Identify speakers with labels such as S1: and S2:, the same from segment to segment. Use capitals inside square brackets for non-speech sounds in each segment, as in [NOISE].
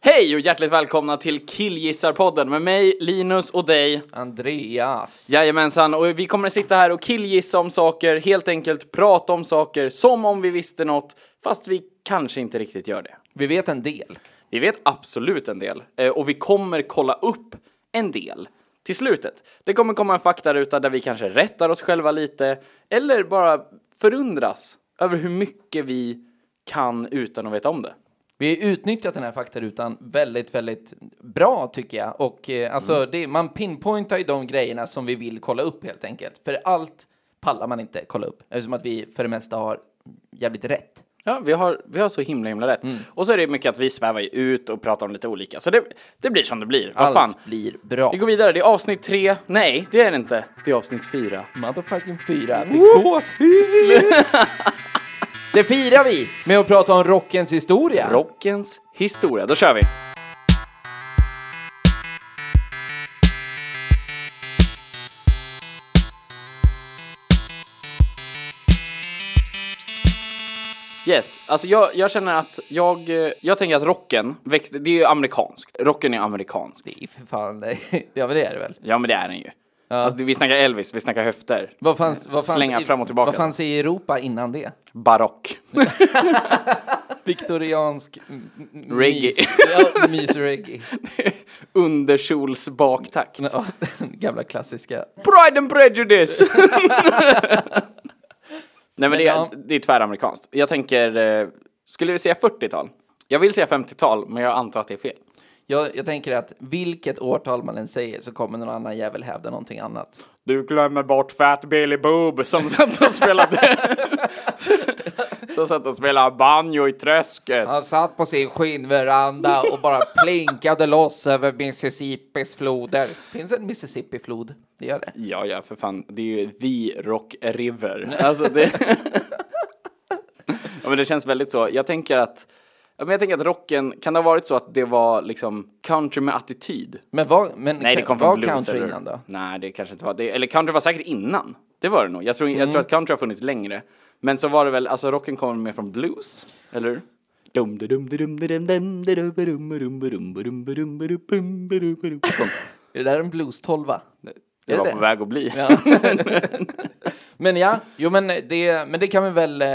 S1: Hej och hjärtligt välkomna till Killgissarpodden med mig, Linus och dig.
S2: Andreas.
S1: Jajamensan, och vi kommer att sitta här och killgissa om saker, helt enkelt prata om saker som om vi visste något, fast vi kanske inte riktigt gör det.
S2: Vi vet en del.
S1: Vi vet absolut en del eh, och vi kommer kolla upp en del till slutet. Det kommer komma en faktaruta där vi kanske rättar oss själva lite eller bara förundras över hur mycket vi kan utan att veta om det.
S2: Vi har utnyttjat den här faktarutan väldigt, väldigt bra tycker jag. Och eh, alltså,
S1: Mm.
S2: det, man pinpointar ju de grejerna som vi vill kolla upp helt enkelt. För allt pallar man inte kolla upp eftersom att vi för det mesta har jävligt rätt.
S1: Ja, vi har, vi har så himla himla rätt. Och så är det mycket att vi svävar ju ut och pratar om lite olika. Så det, det blir som det blir. Vad
S2: Allt
S1: fan.
S2: blir bra.
S1: Vi går vidare, det är avsnitt tre. Nej, det är det inte. Det är avsnitt fyra.
S2: Motherfucking fyra. Fick gåshud!
S1: [LAUGHS]
S2: det firar vi med att prata om rockens historia.
S1: Rockens historia. Då kör vi! Yes, alltså jag, jag känner att jag, eh, jag tänker att rocken växte, det är ju amerikanskt. Rocken är amerikansk.
S2: Det är för fan, [LAUGHS] det- ja men det är det väl.
S1: Ja men det är den ju. Alltså, det- vi snackar Elvis, vi snackar höfter.
S2: Vad fanns, vad fanns
S1: Slänga
S2: i,
S1: fram och tillbaka.
S2: Vad fanns i Europa innan det?
S1: Barock.
S2: Viktoriansk m- m-
S1: Reggae.
S2: Mys, ja, mys-reggae.
S1: [LAUGHS] Underkjolsbaktakt.
S2: Ja, den gamla klassiska.
S1: Pride and prejudice! [LAUGHS] Nej men det är,
S2: ja.
S1: det är tväramerikanskt. Jag tänker, eh, skulle vi säga 40-tal? Jag vill säga 50-tal, men jag antar att det är fel.
S2: Jag, jag tänker att vilket årtal man än säger så kommer någon annan jävel hävda någonting annat.
S1: Du glömmer bort Fat Billy Boob som [LAUGHS] satt och spelade... [LAUGHS] som satt och spelade banjo i träsket.
S2: Han satt på sin skinnveranda och [LAUGHS] bara plinkade loss över Mississippis floder. Finns en Mississippi-flod? Det gör det.
S1: Ja, ja, för fan. Det är ju the Rock River. Alltså det... ja, men det känns väldigt så. Jag tänker att... Ja, men jag tänker att rocken, kan det ha varit så att det var liksom country med attityd?
S2: Men vad, men
S1: Nej, det
S2: kan-
S1: kom från
S2: var
S1: blues
S2: country
S1: eller?
S2: innan då?
S1: Nej, det kanske inte var det. Eller country var säkert innan. Det var det nog. Jag tror, jag tror att country har funnits längre. Men så var det väl, alltså rocken kom mer från blues, eller hur? Dum, dum, dum, dum, dum, dum, dum, dum, dum, dum, dum, dum, dum, dum, dum, dum. Kom.
S2: Är det där en blues-tolva?
S1: Jag var
S2: det?
S1: på väg att bli.
S2: Men ja, jo men det, men det kan vi väl eh,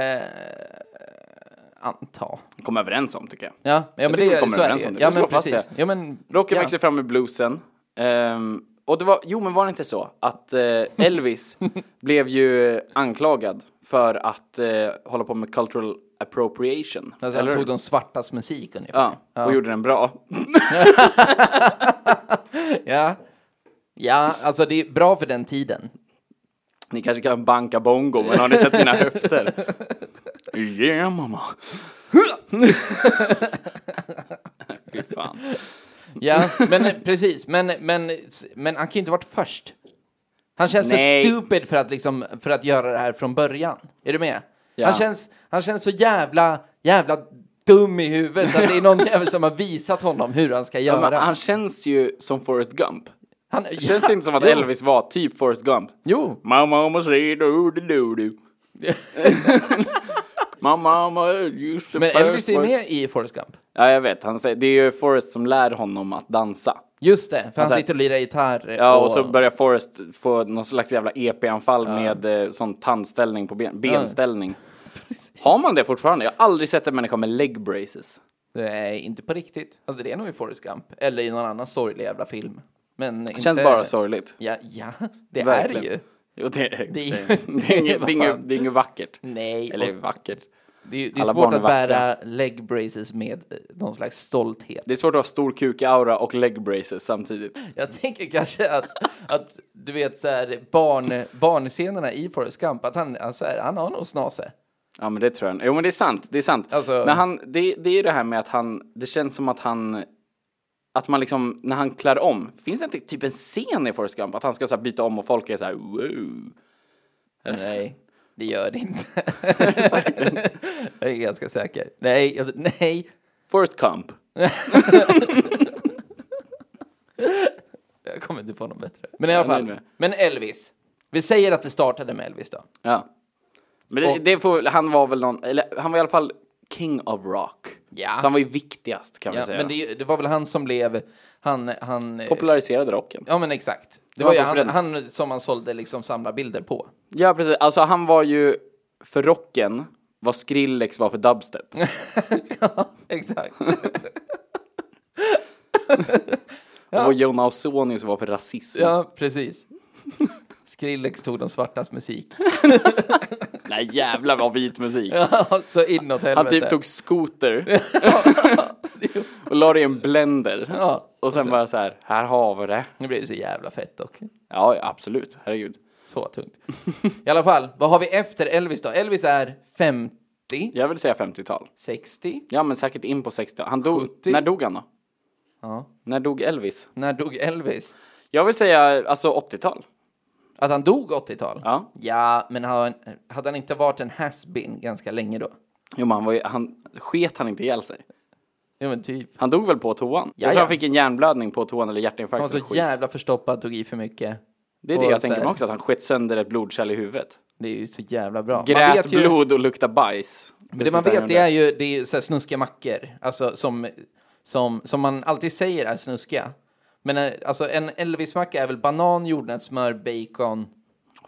S2: anta.
S1: Kom överens om, tycker jag.
S2: Ja, ja men
S1: tycker vi
S2: det,
S1: kommer
S2: så är det
S1: överens
S2: ju.
S1: om det.
S2: Ja,
S1: Vi slår
S2: men
S1: fast
S2: precis.
S1: det.
S2: Ja, men,
S1: Rocken
S2: ja.
S1: växte fram med bluesen. Ehm, och det var, jo men var det inte så att eh,
S2: [LAUGHS]
S1: Elvis blev ju anklagad för att eh, hålla på med cultural appropriation.
S2: Alltså,
S1: eller
S2: han
S1: hur?
S2: tog de svartas musik ungefär.
S1: Ja, och gjorde den bra.
S2: Ja. ja, alltså det är bra för den tiden.
S1: Ni kanske kan banka bongo, men har ni sett mina
S2: [LAUGHS]
S1: höfter? Yeah mamma. [LAUGHS] Fy fan.
S2: [LAUGHS] Ja, men precis. Men, men, men han kan ju inte ha varit först. Han känns
S1: Nej.
S2: för stupid för att, liksom, för att göra det här från början. Är du med?
S1: Ja.
S2: Han, känns, han känns så jävla, jävla dum i huvudet så att det är någon [LAUGHS] jävel som har visat honom hur han ska
S1: Ja,
S2: göra.
S1: men han känns ju som Forrest Gump.
S2: han,
S1: Känns det inte som att
S2: Jo.
S1: Elvis var typ Forrest Gump?
S2: Jo,
S1: My mama said do do do
S2: [LAUGHS]
S1: do. My mama used to
S2: men
S1: first
S2: Elvis är
S1: work-
S2: med i Forrest Gump.
S1: Ja, jag vet. Han säger, det är ju Forrest som lär honom att dansa.
S2: Just det, för han,
S1: här-
S2: sitter Alltså- och lirar gitarr.
S1: Ja, och så börjar Forrest få någon slags jävla EP-anfall med eh, sån tandställning på ben, benställning. Har man det fortfarande? Jag har aldrig sett en människa med leg braces.
S2: Nej, inte på riktigt. Alltså det är nog i Forrest Gump. Eller i någon annan sorglig jävla film. Men inte...
S1: Känns bara sorgligt.
S2: Ja, ja det
S1: Verkligen.
S2: är det ju.
S1: Jo, det, det, det,
S2: är-
S1: är inget- [LAUGHS] det, är
S2: vad
S1: inget-
S2: fan.
S1: det är inget vackert.
S2: Nej,
S1: Eller
S2: och
S1: vackert.
S2: det är, det är
S1: alla
S2: svårt
S1: barn är
S2: att bära leg braces med eh, någon slags stolthet.
S1: Det är svårt att ha stor kuk-aura och leg braces samtidigt.
S2: Jag tänker kanske att, att du vet så här, barn, barnscenerna i Forrest Gump, att han, han, så här, han har nog snase.
S1: Ja men det tror jag. Jo men det är sant, det är sant.
S2: Alltså-
S1: Men han, det, det är ju det här med att han, det känns som att han, att man liksom, när han klär om, finns det inte typ en scen i Forrest Gump att han ska så här byta om och folk är så här wow.
S2: Nej, det gör det inte. [LAUGHS] jag är ganska säker. Nej, alltså, nej.
S1: Forrest Gump.
S2: Jag kommer inte på något bättre. Men i alla
S1: Jag är nöjd
S2: fall,
S1: med
S2: men Elvis. Vi säger att det startade med Elvis då.
S1: Ja. Men det, det får, väl- han var väl någon, eller han var i alla fall king of rock.
S2: Ja.
S1: Så han var ju viktigast kan
S2: Ja,
S1: vi säga.
S2: men det, är ju- det var väl han som blev, han, han... eh,
S1: Populariserade rocken.
S2: Ja men exakt. Det
S1: Det
S2: var
S1: var
S2: ju
S1: han som
S2: han, han som man sålde liksom
S1: [LAUGHS]
S2: samlarbilder på.
S1: Ja, precis. Alltså han var ju för rocken vad Skrillex var för dubstep.
S2: Exakt.
S1: Och vad Jon Ausonius var för rasism.
S2: ja, precis. Skrillex tog de svartas musik.
S1: Nej, jävlar vad vit musik.
S2: [LAUGHS] så inåt helvete.
S1: Han typ tog
S2: [LAUGHS]
S1: skoter och la det i en blender.
S2: Ja. Alltså.
S1: Och sen bara så här, här har vi det.
S2: Nu blev det så jävla fett dock.
S1: Ja, ja, absolut. Herregud.
S2: Så tungt. I alla fall, vad har vi efter Elvis då? Elvis är 50,
S1: Jag vill säga 50-tal.
S2: 60.
S1: Ja, men säkert in på 60 Han dog...
S2: 70.
S1: När dog han då?
S2: Ja.
S1: När dog Elvis?
S2: När dog Elvis?
S1: Jag vill säga alltså 80-tal.
S2: Att han dog 80-tal?
S1: Ja.
S2: Ja, men han, hade han inte varit en has-been ganska länge då?
S1: Jo, men han var ju, han sket han inte ihjäl sig.
S2: Jo men typ.
S1: Han dog väl på toan? Jag
S2: Jaja.
S1: tror han fick en hjärnblödning på toan eller hjärtinfarkt.
S2: Han var
S1: eller
S2: så
S1: skit.
S2: jävla Alltså. förstoppad, tog i för mycket.
S1: Det är
S2: Och
S1: det jag
S2: så
S1: tänker
S2: här-
S1: mig också, att han sket sönder ett blodkärl i huvudet.
S2: Det är ju så jävla bra. man
S1: Grät
S2: vet ju,
S1: blod och luktade bajs.
S2: Men det man vet det är ju, det är ju så här snuskiga mackor. Alltså som, som, som man alltid säger är snuskiga. Men eh, alltså en Elvis-macka är väl banan, jordnötssmör, bacon.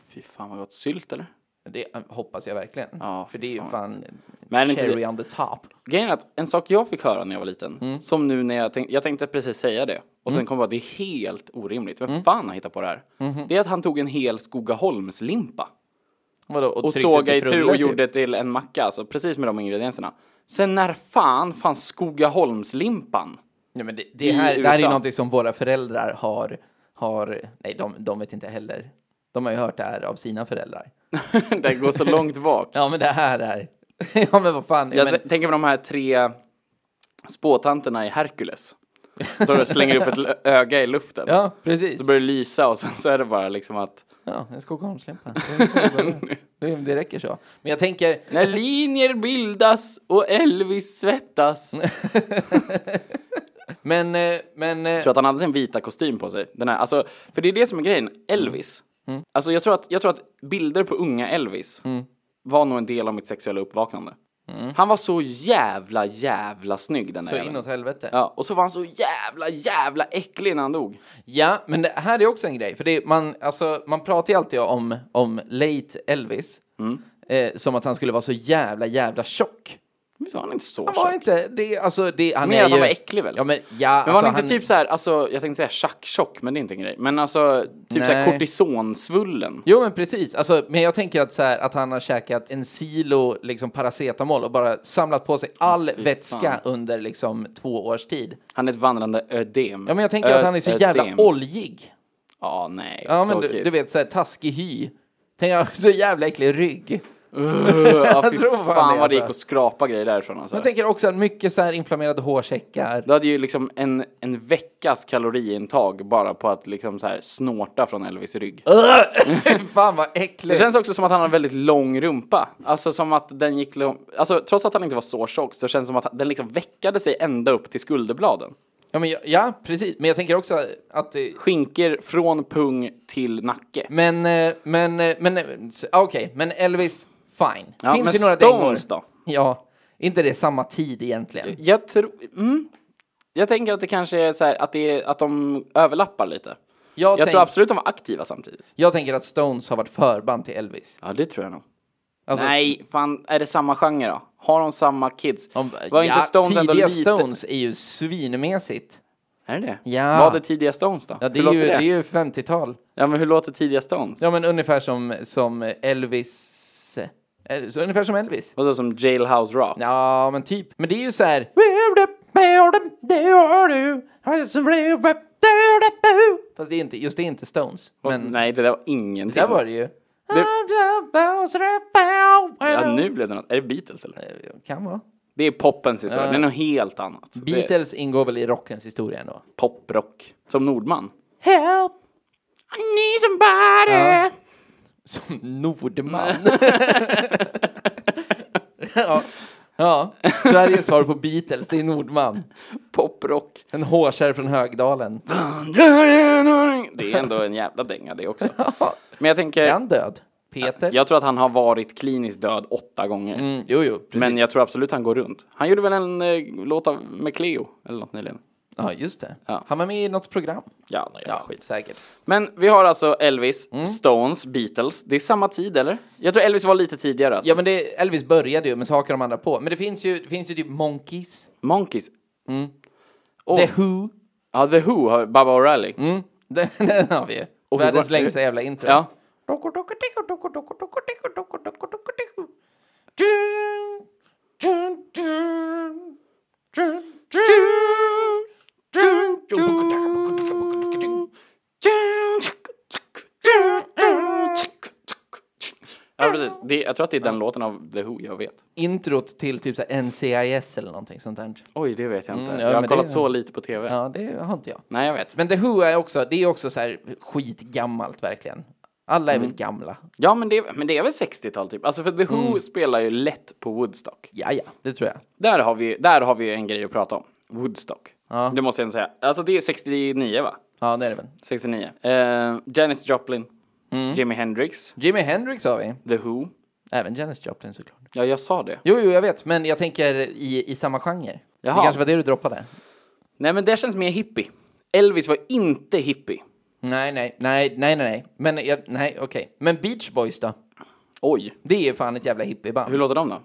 S1: Fy fan vad gott. Sylt eller?
S2: Det eh, hoppas jag verkligen.
S1: Ja, fy
S2: för det är ju
S1: fan.
S2: fan
S1: Men är det inte-
S2: cherry on the top.
S1: Grejen är att en sak jag fick höra när jag var liten,
S2: Mm.
S1: som nu när jag tänkte, jag tänkte precis säga det, och sen kom jag bara, det är helt orimligt.
S2: Mm.
S1: Vem fan har hittat på det här?
S2: Mm-hmm.
S1: Det är att han tog en hel Skogaholmslimpa
S2: Vadå, och
S1: och
S2: tryckte
S1: sågade
S2: till
S1: i tur
S2: frulle,
S1: och
S2: typ.
S1: gjorde till en macka, alltså precis med de ingredienserna. Sen när fan fanns Skogaholmslimpan? [LAUGHS]
S2: Nej, men det,
S1: i
S2: det, här, det här är ju
S1: USA.
S2: någonting som våra föräldrar har, har nej de, de vet inte heller. De har ju hört det här av sina föräldrar.
S1: det går
S2: [LAUGHS]
S1: så långt bak.
S2: Ja men det här är, [LAUGHS] ja men vad fan.
S1: Jag
S2: men,
S1: t- tänker på de här tre spåtanterna i Herkules. Står och slänger upp ett
S2: [LAUGHS]
S1: l- öga i luften.
S2: ja precis.
S1: Så börjar det lysa och sen så är det bara liksom att
S2: Ja,
S1: [LAUGHS]
S2: en Skogaholmslimpa. Det är så bra. [LAUGHS] Det, det räcker så. Men jag tänker,
S1: När linjer bildas och Elvis svettas. Jag
S2: men, eh, men, eh,
S1: tror att han hade sin vita kostym på sig. Den här, alltså, för det är det som är grejen. Elvis.
S2: Mm.
S1: Alltså, jag, tror att, jag tror att bilder på unga Elvis var nog en del av mitt sexuella uppvaknande. Han var så jävla, jävla snygg den där
S2: Mm. så
S1: jäveln.
S2: inåt helvete. Ja.
S1: Ja, och så var han så jävla, jävla äcklig när han dog.
S2: men det här är också en grej. För det är, man, alltså, man pratar ju alltid om, om late Elvis.
S1: Mm.
S2: Eh, som att han skulle vara så jävla, jävla tjock.
S1: Men var han inte så
S2: Han var
S1: tjock?
S2: inte, det, är- alltså, det, han
S1: Men
S2: är
S1: att
S2: ju...
S1: han var äcklig väl?
S2: Ja, men, ja,
S1: Men
S2: alltså,
S1: var han inte
S2: han,
S1: typ så här, alltså, jag tänkte säga tjacktjock, men det är inte en grej. Men alltså, typ så här
S2: Nej.
S1: kortisonsvullen.
S2: Jo, men precis. Alltså, men jag tänker att, så här, att han har käkat en silo liksom, paracetamol och bara samlat på sig all vätska under liksom, två års tid.
S1: Han är ett vandrande ödem.
S2: Ja, men jag tänker att han är så jävla
S1: Ödem.
S2: oljig.
S1: Ja, nej.
S2: Ja, men du,
S1: tråkigt.
S2: du vet, så här, taskig hy. Tänk, jag har så jävla äcklig rygg.
S1: ja,
S2: jag
S1: fy
S2: tror
S1: fan,
S2: fan
S1: vad
S2: det,
S1: det gick
S2: alltså.
S1: att skrapa grejer därifrån. Alltså.
S2: Jag tänker också att mycket så här
S1: [LAUGHS]
S2: inflammerade hårsäckar. [LAUGHS]
S1: Du hade ju liksom en, en veckas kaloriintag bara på att liksom så här snorta från Elvis rygg.
S2: Fan vad
S1: Det
S2: äckligt.
S1: känns också som att han har en väldigt lång rumpa. Alltså som att den gick lång... Alltså trots att han inte var så tjock så känns det som att den liksom veckade sig ända upp till skulderbladen.
S2: Ja, men, jag- ja, precis. Men jag tänker också att... eh, det-
S1: Skinker från pung till nacke.
S2: Men, eh, men, eh, men, eh, s- okej, men Elvis, fine.
S1: Ja,
S2: Finns
S1: men
S2: ju några
S1: Stones då?
S2: Ja, inte det samma tid egentligen.
S1: Jag tror... Mm. Jag tänker att det kanske är så här att, det är, att de överlappar lite.
S2: Jag,
S1: Jag
S2: tänk,
S1: tror absolut de var aktiva samtidigt.
S2: jag tänker att Stones har varit förband till Elvis.
S1: Ja, det tror jag nog.
S2: Alltså-
S1: Nej, fan, är det samma genre då? Har de samma kids?
S2: Om-
S1: var inte Stones ändå
S2: tidiga
S1: lite...
S2: Stones är ju svinmässigt.
S1: Är det det?
S2: Ja.
S1: Vad är tidiga Stones då?
S2: Ja, det
S1: hur
S2: är,
S1: låter
S2: ju,
S1: det?
S2: det är ju 50-tal.
S1: Ja, men hur låter tidiga Stones?
S2: Ja, men ungefär som, som Elvis. Eh, Så ungefär som Elvis.
S1: Vadå, som Jailhouse Rock?
S2: Ja, men typ. Men det är ju så här. Fast det är inte, just det är inte Stones. Men
S1: Nej, det där var ingenting.
S2: där var det ju.
S1: Ja, nu blev det något. Är det Beatles eller?
S2: Eh, Kan vara.
S1: Det är poppens historia. Det är något helt annat. Det är
S2: Beatles ingår väl i rockens historia ändå?
S1: poprock. Som Nordman.
S2: Help!
S1: I need somebody!
S2: Som Nordman. [LAUGHS] ja. ja, Sveriges svar på Beatles, det är Nordman.
S1: Poprock.
S2: En hårkärr från Högdalen. [LAUGHS]
S1: Det är ändå en jävla dänga det också. Men jag tänker...
S2: Är han död? Peter?
S1: Jag tror att han har varit kliniskt död åtta gånger.
S2: Mm, jo, jo, precis.
S1: Men jag tror absolut han går runt. Han gjorde väl en eh, låt av, med Cleo eller något nyligen.
S2: Ja, just det.
S1: Ja.
S2: Han var med i något program.
S1: Ja, nej,
S2: Ja,
S1: skit.
S2: säkert.
S1: Men vi har alltså Elvis,
S2: Mm.
S1: Stones, Beatles. Det är samma tid, eller? Jag tror Elvis var lite tidigare. Alltså.
S2: Ja, men det, Elvis började ju, men så hakar de andra på. Men det finns ju, det finns ju typ Monkeys,
S1: Monkeys. Oh.
S2: The Who.
S1: Ja, The Who, har Baba O'Reilly.
S2: Mm. [LAUGHS] Den, den har vi ju.
S1: Och hur
S2: Världens
S1: går-
S2: längsta jävla intro.
S1: Ja. Ja, precis. Det, jag tror att det är den låten av The Who jag vet.
S2: Introt till typ så här NCIS eller någonting sånt där.
S1: Oj, det vet jag inte.
S2: Mm, ja,
S1: jag har
S2: men
S1: kollat
S2: det-
S1: så lite på tv.
S2: Ja, det har inte jag.
S1: Nej, jag vet.
S2: Men The Who är också, det är också så här skitgammalt verkligen. Alla är väl gamla.
S1: Ja, men det, men det är väl 60-tal typ. Alltså, för The Who
S2: Mm.
S1: spelar ju lätt på Woodstock.
S2: Ja, ja, det tror jag.
S1: Där har vi, där har vi en grej att prata om. Woodstock.
S2: Ja.
S1: Det måste jag ändå säga. Alltså, det är 69, va?
S2: Ja, det är det väl.
S1: 69. Eh, Janis Joplin,
S2: Mm.
S1: Jimi Hendrix,
S2: Jimi Hendrix har vi.
S1: The Who.
S2: Även Janis Joplin såklart.
S1: Ja, jag sa det.
S2: Jo, jo, jag vet, men jag tänker i, i samma genre. Det
S1: Jaha.
S2: kanske var det du droppade?
S1: Nej, men det känns mer hippie. Elvis var inte hippie.
S2: Nej, nej, nej, nej, nej, nej. Men jag, nej, okej. Men Beach Boys då?
S1: Oj.
S2: Det är fan ett jävla hippieband.
S1: Hur låter de då?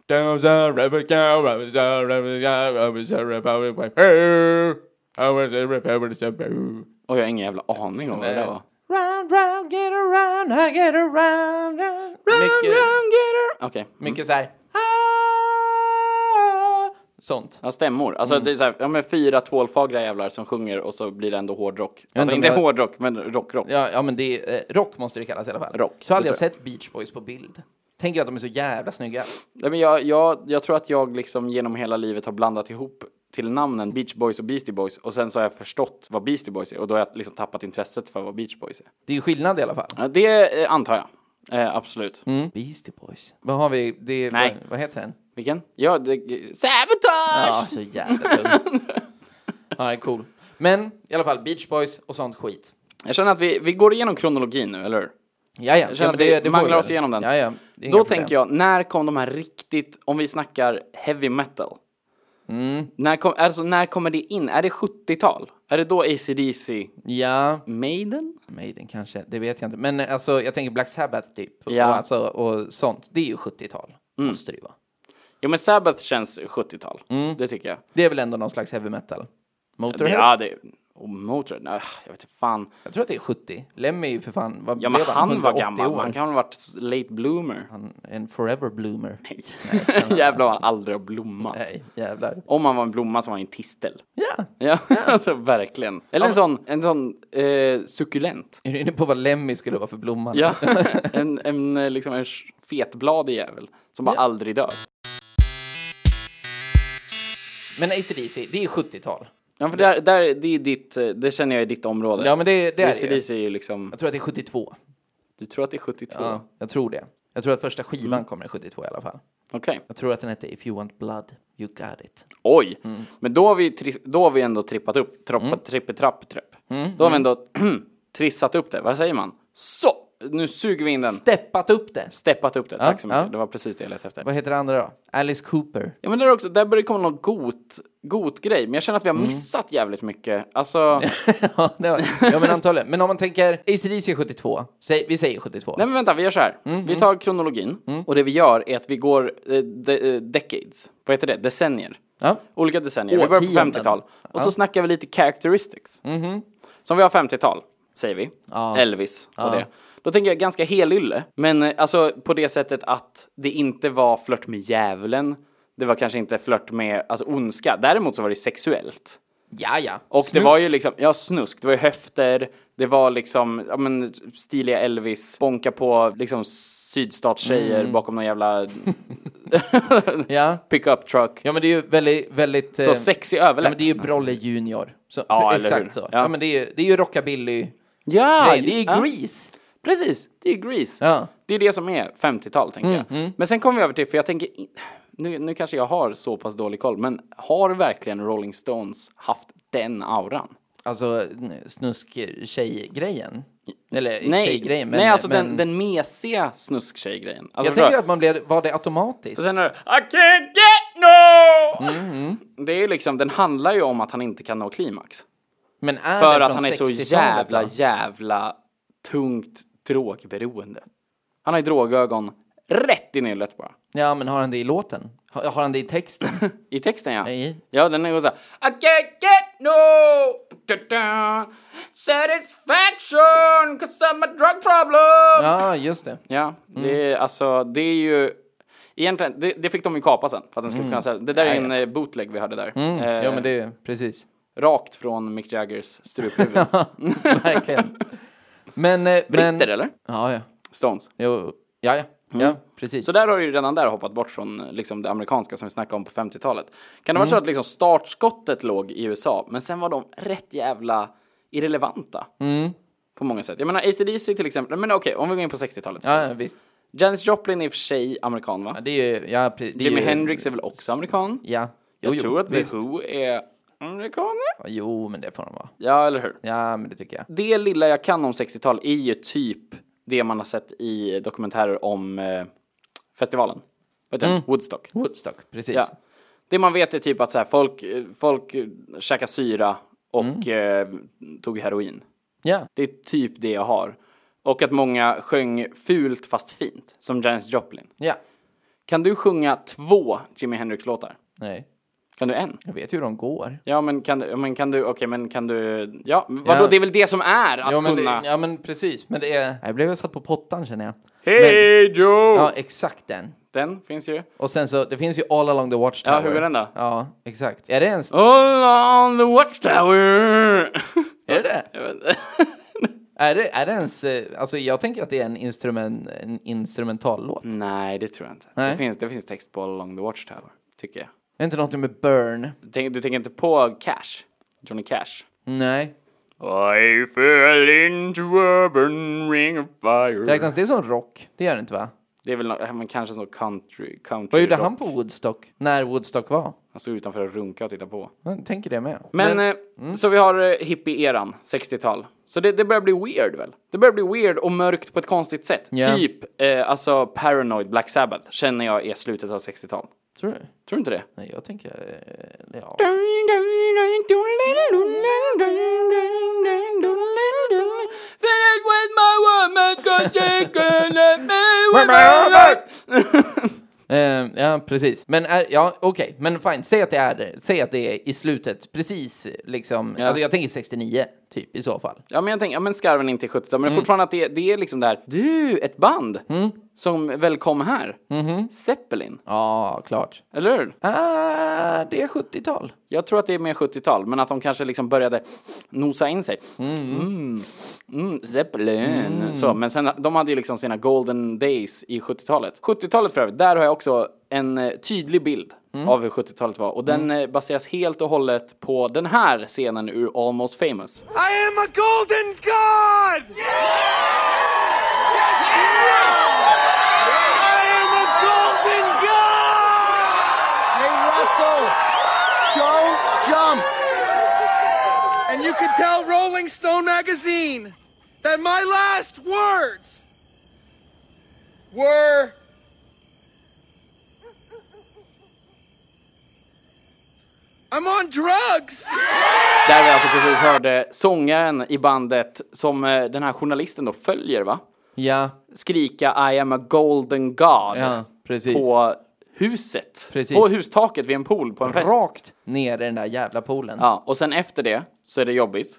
S1: Oj, jag har ingen jävla aning om vad det där var.
S2: Round, round, get around, I get around. round. Mycket,
S1: Okej.
S2: mycket så här. "Ah", Sånt.
S1: Ja, stämmor. Alltså,
S2: Mm.
S1: det är så här, ja, men fyra tvålfagra jävlar som sjunger och så blir det ändå hårdrock.
S2: vet
S1: Alltså,
S2: inte om
S1: inte
S2: jag-
S1: hårdrock, men rockrock.
S2: Ja, ja men det är, eh, rock måste det kallas i alla fall.
S1: Rock,
S2: Så aldrig
S1: det
S2: jag sett Beach Boys på bild. Tänker att de är så jävla snygga.
S1: Nej, men jag, jag, jag tror att jag liksom genom hela livet har blandat ihop till namnen Beach Boys och Beastie Boys och sen så har jag förstått vad Beastie Boys är och då har jag liksom tappat intresset för vad Beach Boys är.
S2: Det är ju skillnad i alla fall.
S1: Ja, det eh, antar jag. Eh, absolut.
S2: Mm. Beastie Boys. Vad har vi? Det,
S1: Nej.
S2: Vad, vad heter den?
S1: Vilken? Ja, det, Sabotage!
S2: Ja, så jävla dum. [LAUGHS] ja, det är cool. Men i alla fall, Beach Boys och sånt skit.
S1: Jag känner att vi, vi går igenom kronologin nu, eller hur?
S2: Ja, ja.
S1: Jag
S2: ja,
S1: känner
S2: men
S1: att vi
S2: får
S1: manglar
S2: vi
S1: oss
S2: väl.
S1: igenom den.
S2: Ja, ja. Det är
S1: Då
S2: inga
S1: tänker
S2: problem.
S1: jag, när kom de här riktigt, om vi snackar heavy metal?
S2: Mm.
S1: När, kom, alltså, när kommer det in? Är det 70-tal? Är det då ACDC?
S2: Ja,
S1: Maiden?
S2: Maiden kanske. Det vet jag inte. Men eh, alltså, jag tänker Black Sabbath typ.
S1: Ja. Mm.
S2: Och, alltså, och sånt. Det är ju 70-tal. Måste det ju vara.
S1: Jo men Sabbath känns 70-tal,
S2: Mm.
S1: det tycker jag.
S2: Det är väl ändå någon slags heavy metal? Motorhead?
S1: Ja, det... Och Motörhead? Ah, jag vet inte fan.
S2: Jag tror att det är 70. Lemmy är ju för fan, vad
S1: Ja men
S2: blev
S1: han var
S2: 180
S1: gammal,
S2: År.
S1: han kan ha varit late bloomer.
S2: Han är en forever bloomer.
S1: [LAUGHS] Jävlar vad han aldrig har blommat.
S2: Nej, jävlar.
S1: Om han var en blomma så var han en tistel.
S2: Ja.
S1: Ja, [LAUGHS] alltså verkligen. Eller en sån, en sån eh, suckulent.
S2: Är du inne på vad Lemmy skulle vara för blomma?
S1: [LAUGHS] Ja, en, en, eh, liksom en sh- fetbladig jävel som bara aldrig dör.
S2: Men ACDC, det är 70-tal.
S1: Ja, för där, där, det, är ditt, eh, det känner jag är ditt område.
S2: Ja, men det, det är det ju.
S1: ACDC är ju liksom,
S2: Jag tror att det är 72.
S1: du tror att det är 72?
S2: Ja, jag tror det. Jag tror att första skivan
S1: Mm.
S2: kommer i 72 i alla fall.
S1: Okej.
S2: Jag tror att den hette If You Want Blood, You Got It.
S1: Oj! Men då har, vi tri- då har vi ändå trippat upp, troppat, trippe, trapp, trepp. Då har vi ändå [CLEARS THROAT] trissat upp det, vad säger man? Så! Nu suger vi in den.
S2: Steppat upp det!
S1: Steppat upp det, tack så mycket.
S2: ja.
S1: Det var precis det jag letade efter.
S2: Vad heter det andra då? Alice Cooper. [LAUGHS]
S1: Ja men där också, där börjar det komma någon got, got grej. Men jag känner att vi har missat jävligt mycket. [LAUGHS] Alltså,
S2: ja, det var, ja, men antagligen. Men om man tänker ACDC är 72. Säg, vi säger 72.
S1: nej men vänta, vi gör så här.
S2: Mm,
S1: Vi tar kronologin och det vi gör är att vi går eh, de, eh, decades. Vad heter det? Decennier.
S2: Ja.
S1: Olika decennier. Vi börjar på
S2: Årtionden. Mm-hmm.
S1: 50-tal. Och så snackar vi lite characteristics. Som vi har 50-tal, säger vi. Elvis och det. Då tänker jag ganska helylle. Men eh, alltså på det sättet att det inte var flört med djävulen. Det var kanske inte flört med alltså, ondska. Däremot så var det sexuellt.
S2: Ja, ja.
S1: Och
S2: Snusk.
S1: det var ju liksom, ja snusk, det var ju höfter, det var liksom, ja men stiliga Elvis, bonka på liksom sydstatstjejer
S2: Mm.
S1: bakom någon jävla
S2: Ja.
S1: pickup truck.
S2: ja, men det är ju väldigt, väldigt... eh,
S1: Så sexig
S2: Ja,
S1: överläpp.
S2: men det är ju Brolle Junior. Så,
S1: Ja, eller
S2: exakt
S1: hur?
S2: så. Ja.
S1: Ja.
S2: men det är ju, det är ju rockabilly.
S1: Ja,
S2: Nej, det är ju
S1: ja,
S2: Grease.
S1: Precis, det är Grease.
S2: Ja. Mm,
S1: Det är det som är 50-tal tänker jag. Men sen kommer vi över till, för jag tänker, in- nu, nu kanske jag har så pass dålig koll, men har verkligen Rolling Stones haft den auran?
S2: Alltså snusk-tjej-grejen. eh, Eller i och för sig
S1: Nej,
S2: grejen, men...
S1: nej alltså
S2: men
S1: den, den mesiga snusktjejgrejen. Alltså,
S2: jag
S1: förstår
S2: tänker att man blev... Var det automatiskt?
S1: Och sen är det I can't get no!
S2: Mm-hmm.
S1: Det är ju liksom, den handlar ju om att han inte kan nå klimax.
S2: Men är
S1: För
S2: den
S1: att
S2: från
S1: han är så
S2: 60-talet,
S1: jävla,
S2: va?
S1: jävla tungt drogberoende. Han har ju drogögon rätt i nyllet bara.
S2: Ja, men har han det i låten? Har, har han det i texten?
S1: [LAUGHS] I texten ja.
S2: Nej.
S1: Ja, den är så här. I can't get no da-da, satisfaction cause I'm a drug problem.
S2: ja, just det.
S1: Ja, det är alltså, det är ju egentligen, det, det fick de ju kapa sen för att den
S2: Mm.
S1: skulle kunna sälja. Det där är en eh, bootleg vi hörde där. Eh,
S2: Ja, men det är precis. [LAUGHS]
S1: Rakt från Mick Jaggers struphuvud.
S2: Verkligen. Men... eh,
S1: Britter
S2: men,
S1: eller?
S2: Ja, ja.
S1: Stones.
S2: Jo, ja, ja. ja precis.
S1: Så där har du ju redan där hoppat bort från eh, liksom, det amerikanska som vi snackade om på 50-talet. Kan det
S2: Mm.
S1: vara så att liksom, startskottet låg i USA, men sen var de rätt jävla irrelevanta?
S2: Mm.
S1: På många sätt. Jag menar ACDC till exempel, men okej om vi går in på 60-talet.
S2: Ja, ja, visst.
S1: Janis Joplin är i och för sig amerikan va?
S2: Ja, det är ju... Ja, pre- det är
S1: Jimi
S2: ju,
S1: Hendrix är väl också amerikan?
S2: Ja.
S1: Jag
S2: Jo, jo,
S1: tror att The
S2: visst.
S1: Who är amerikaner.
S2: Ja, Jo, men det får de vara.
S1: Ja, eller hur?
S2: Ja, men det tycker jag.
S1: Det lilla jag kan om 60-tal är ju typ det man har sett i dokumentärer om eh, festivalen. Vet du? Woodstock.
S2: Woodstock, precis.
S1: Ja. Det man vet är typ att så här, folk, eh, folk eh, käkade syra och eh, tog heroin.
S2: ja.
S1: Det är typ det jag har. Och att många sjöng fult fast fint, som Janis Joplin.
S2: Ja.
S1: Kan du sjunga två Jimi Hendrix-låtar?
S2: Nej,
S1: Kan du en?
S2: jag vet ju hur de går.
S1: Ja, men kan du, ja, men kan du, okej, men kan du, ja, men vadå,
S2: Ja.
S1: det är väl det som är att
S2: Ja men,
S1: kunna. Oh.
S2: det, ja, men precis. Men det är... Jag blev satt på pottan, känner jag.
S1: Hey Joe!
S2: Ja, exakt den.
S1: Den finns ju.
S2: Och sen så, det finns ju All along the
S1: Ja,
S2: Watchtower.
S1: hur går den då?
S2: Ja, exakt. Är det ens...
S1: All on the watchtower!
S2: [LAUGHS] Är det
S1: Jag vet
S2: [LAUGHS]
S1: inte.
S2: Är det, är det ens... eh, Alltså jag tänker att det är en, instrument, en instrumentallåt.
S1: Nej, det tror jag inte.
S2: Nej.
S1: Det, finns, det finns text på All along the watchtower, tycker jag.
S2: Är inte någonting med Burn?
S1: Du tänker, du tänker inte på Cash? Johnny Cash?
S2: Nej.
S1: I fell into a burning of fire.
S2: Räknas det som rock? Det gör det inte va?
S1: Det är väl nå- men kanske så country, country
S2: Vad gjorde
S1: rock.
S2: han på Woodstock? När Woodstock var?
S1: Han stod utanför och runkade och tittade på.
S2: Jag tänker det med.
S1: Men, eh, så vi har eh, hippie-eran, 60-tal. Så det, det börjar bli weird väl? Det börjar bli weird och mörkt på ett konstigt sätt.
S2: Ja.
S1: Typ, eh, alltså Paranoid Black Sabbath känner jag är slutet av 60-tal.
S2: Tror du?
S1: Tror du inte det? [LAUGHS]
S2: Nej, jag tänker... eh, Ja. Eh, ja, precis. Men är, ja, okej. Men fine, säg att det är det. Säg att det är i slutet, precis liksom. Alltså jag tänker 69, typ i så fall.
S1: Ja men jag tänker, ja men skarven inte i 70 men fortfarande att det, det är liksom där, du, ett band som väl kom här, Zeppelin,
S2: Ja, klart.
S1: eller hur?
S2: Ah, det är 70-tal.
S1: Jag tror att det är mer 70-tal, men att de kanske liksom började nosa in sig. Mm. Mm. Zeppelin. Så, men sen, de hade ju liksom sina golden days i 70-talet. 70-talet för övrigt, där har jag också en eh, tydlig bild av hur 70-talet var. Och den eh, baseras helt och hållet på den här scenen ur Almost famous.
S3: I am a golden god! I am a golden god!
S4: Hey, Russell, don't jump.
S3: And you can tell Rolling Stone magazine that my last words were I'm on drugs!
S1: Där vi alltså precis hörde sångaren i bandet som eh, den här journalisten då följer, va?
S2: Ja,
S1: Skrika I am a golden god.
S2: ja, precis.
S1: på huset.
S2: Precis.
S1: På hustaket vid en pool på en fest.
S2: Rakt ner i den där jävla poolen.
S1: Ja, och sen efter det så är det jobbigt.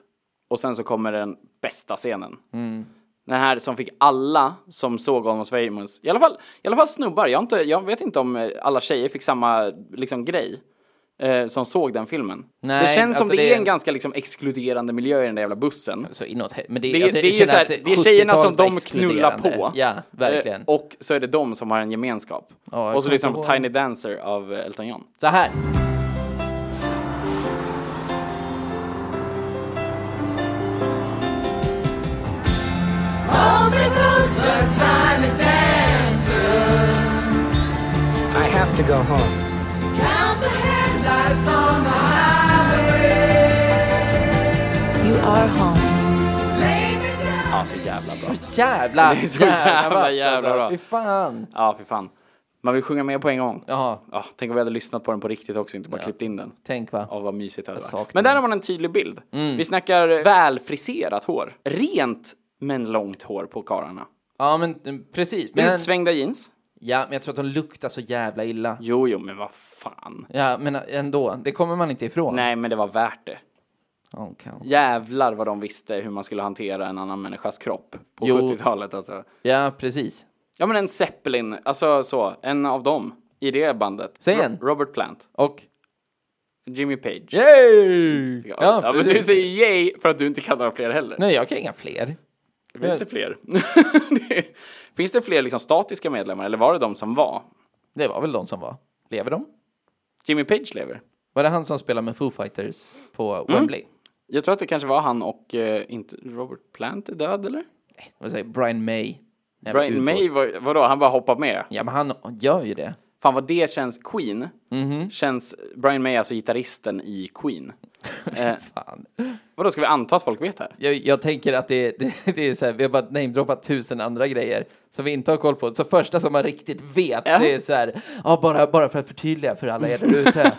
S1: Och sen så kommer den bästa scenen.
S2: Mm.
S1: Den här som fick alla som såg Almost famous, i alla fall, i alla fall snubbar, jag, har inte, jag vet inte om eh, alla tjejer fick samma liksom, grej eh, som såg den filmen.
S2: Nej,
S1: det känns som
S2: alltså
S1: det,
S2: det
S1: är
S2: är-
S1: en ganska liksom, exkluderande miljö i den där jävla bussen.
S2: Så inåt, he- men det,
S1: Det-
S2: jag
S1: det är ju
S2: känner
S1: så här,
S2: att
S1: det är tjejerna som
S2: 70-talet var
S1: de knullar
S2: exkluderande.
S1: på.
S2: Ja, verkligen.
S1: Eh, och så är det de som har en gemenskap.
S2: Ja, jag
S1: och så
S2: kommer
S1: lyssnar
S2: inte
S1: på
S2: ihåg.
S1: Tiny Dancer av eh, Elton John.
S2: Så här.
S4: I have to go home.
S5: You are home.
S1: Ja, så jävla bra.
S2: Jävla,
S1: Det är så
S2: jävla,
S1: jävla,
S2: vass,
S1: jävla
S2: alltså.
S1: bra.
S2: Fy fan.
S1: Ja, för fan. Man vill sjunga med på en gång.
S2: Ja,
S1: Ja, tänk om vi hade lyssnat på den på riktigt också, inte bara klippt in den.
S2: tänk va.
S1: Ja, vad mysigt det hade varit.
S2: saknar Mm.
S1: Men där har man en tydlig bild. Vi snackar välfriserat hår. Rent, men långt hår på karlarna.
S2: Ja, men eh, precis. Men,
S1: Utsvängda jeans.
S2: ja, men jag tror att de luktar så jävla illa.
S1: Jo, jo, men vad fan.
S2: Ja, men äh, ändå. Det kommer man inte ifrån. Oh,
S1: Nej, men det var värt det.
S2: Ja, kan-
S1: Jävlar vad de visste hur man skulle hantera en annan människas kropp på
S2: Jo.
S1: 70-talet alltså.
S2: Ja, precis.
S1: Ja men en Zeppelin, alltså så, en av dem i det bandet.
S2: Säg en.
S1: Ro- Robert Plant,
S2: Och...
S1: Jimmy Page.
S2: Yay! Ja,
S1: Ja, ja men
S2: precis.
S1: du säger yay för att du inte kan några fler heller.
S2: Nej, jag kan inga fler.
S1: Det finns inte fler. [LAUGHS] Det- Finns det fler liksom statiska medlemmar eller var det de som var?
S2: Det var väl de som var. Lever de?
S1: Jimmy Page lever.
S2: Var det han som spelade med Foo Fighters på
S1: Mm.
S2: Wembley?
S1: Jag tror att det kanske var han och eh, inte Robert Plant är död eller?
S2: Vad säger Brian May? Nej,
S1: Brian
S2: UFO.
S1: May, var, vadå, han bara hoppade med?
S2: Ja, men han gör ju det.
S1: Fan vad det känns, Queen,
S2: Mhm.
S1: känns, Brian May är alltså gitarristen i Queen. eh,
S2: Fan.
S1: vadå, ska vi anta att folk vet här?
S2: Jag, jag tänker att det, [LAUGHS] det, det är så här, vi har bara namedroppat tusen andra grejer som vi inte har koll på. Så första som man riktigt vet,
S1: Ja.
S2: det är så här, ja, bara, bara för att förtydliga för alla er där
S1: [LAUGHS]
S2: ute.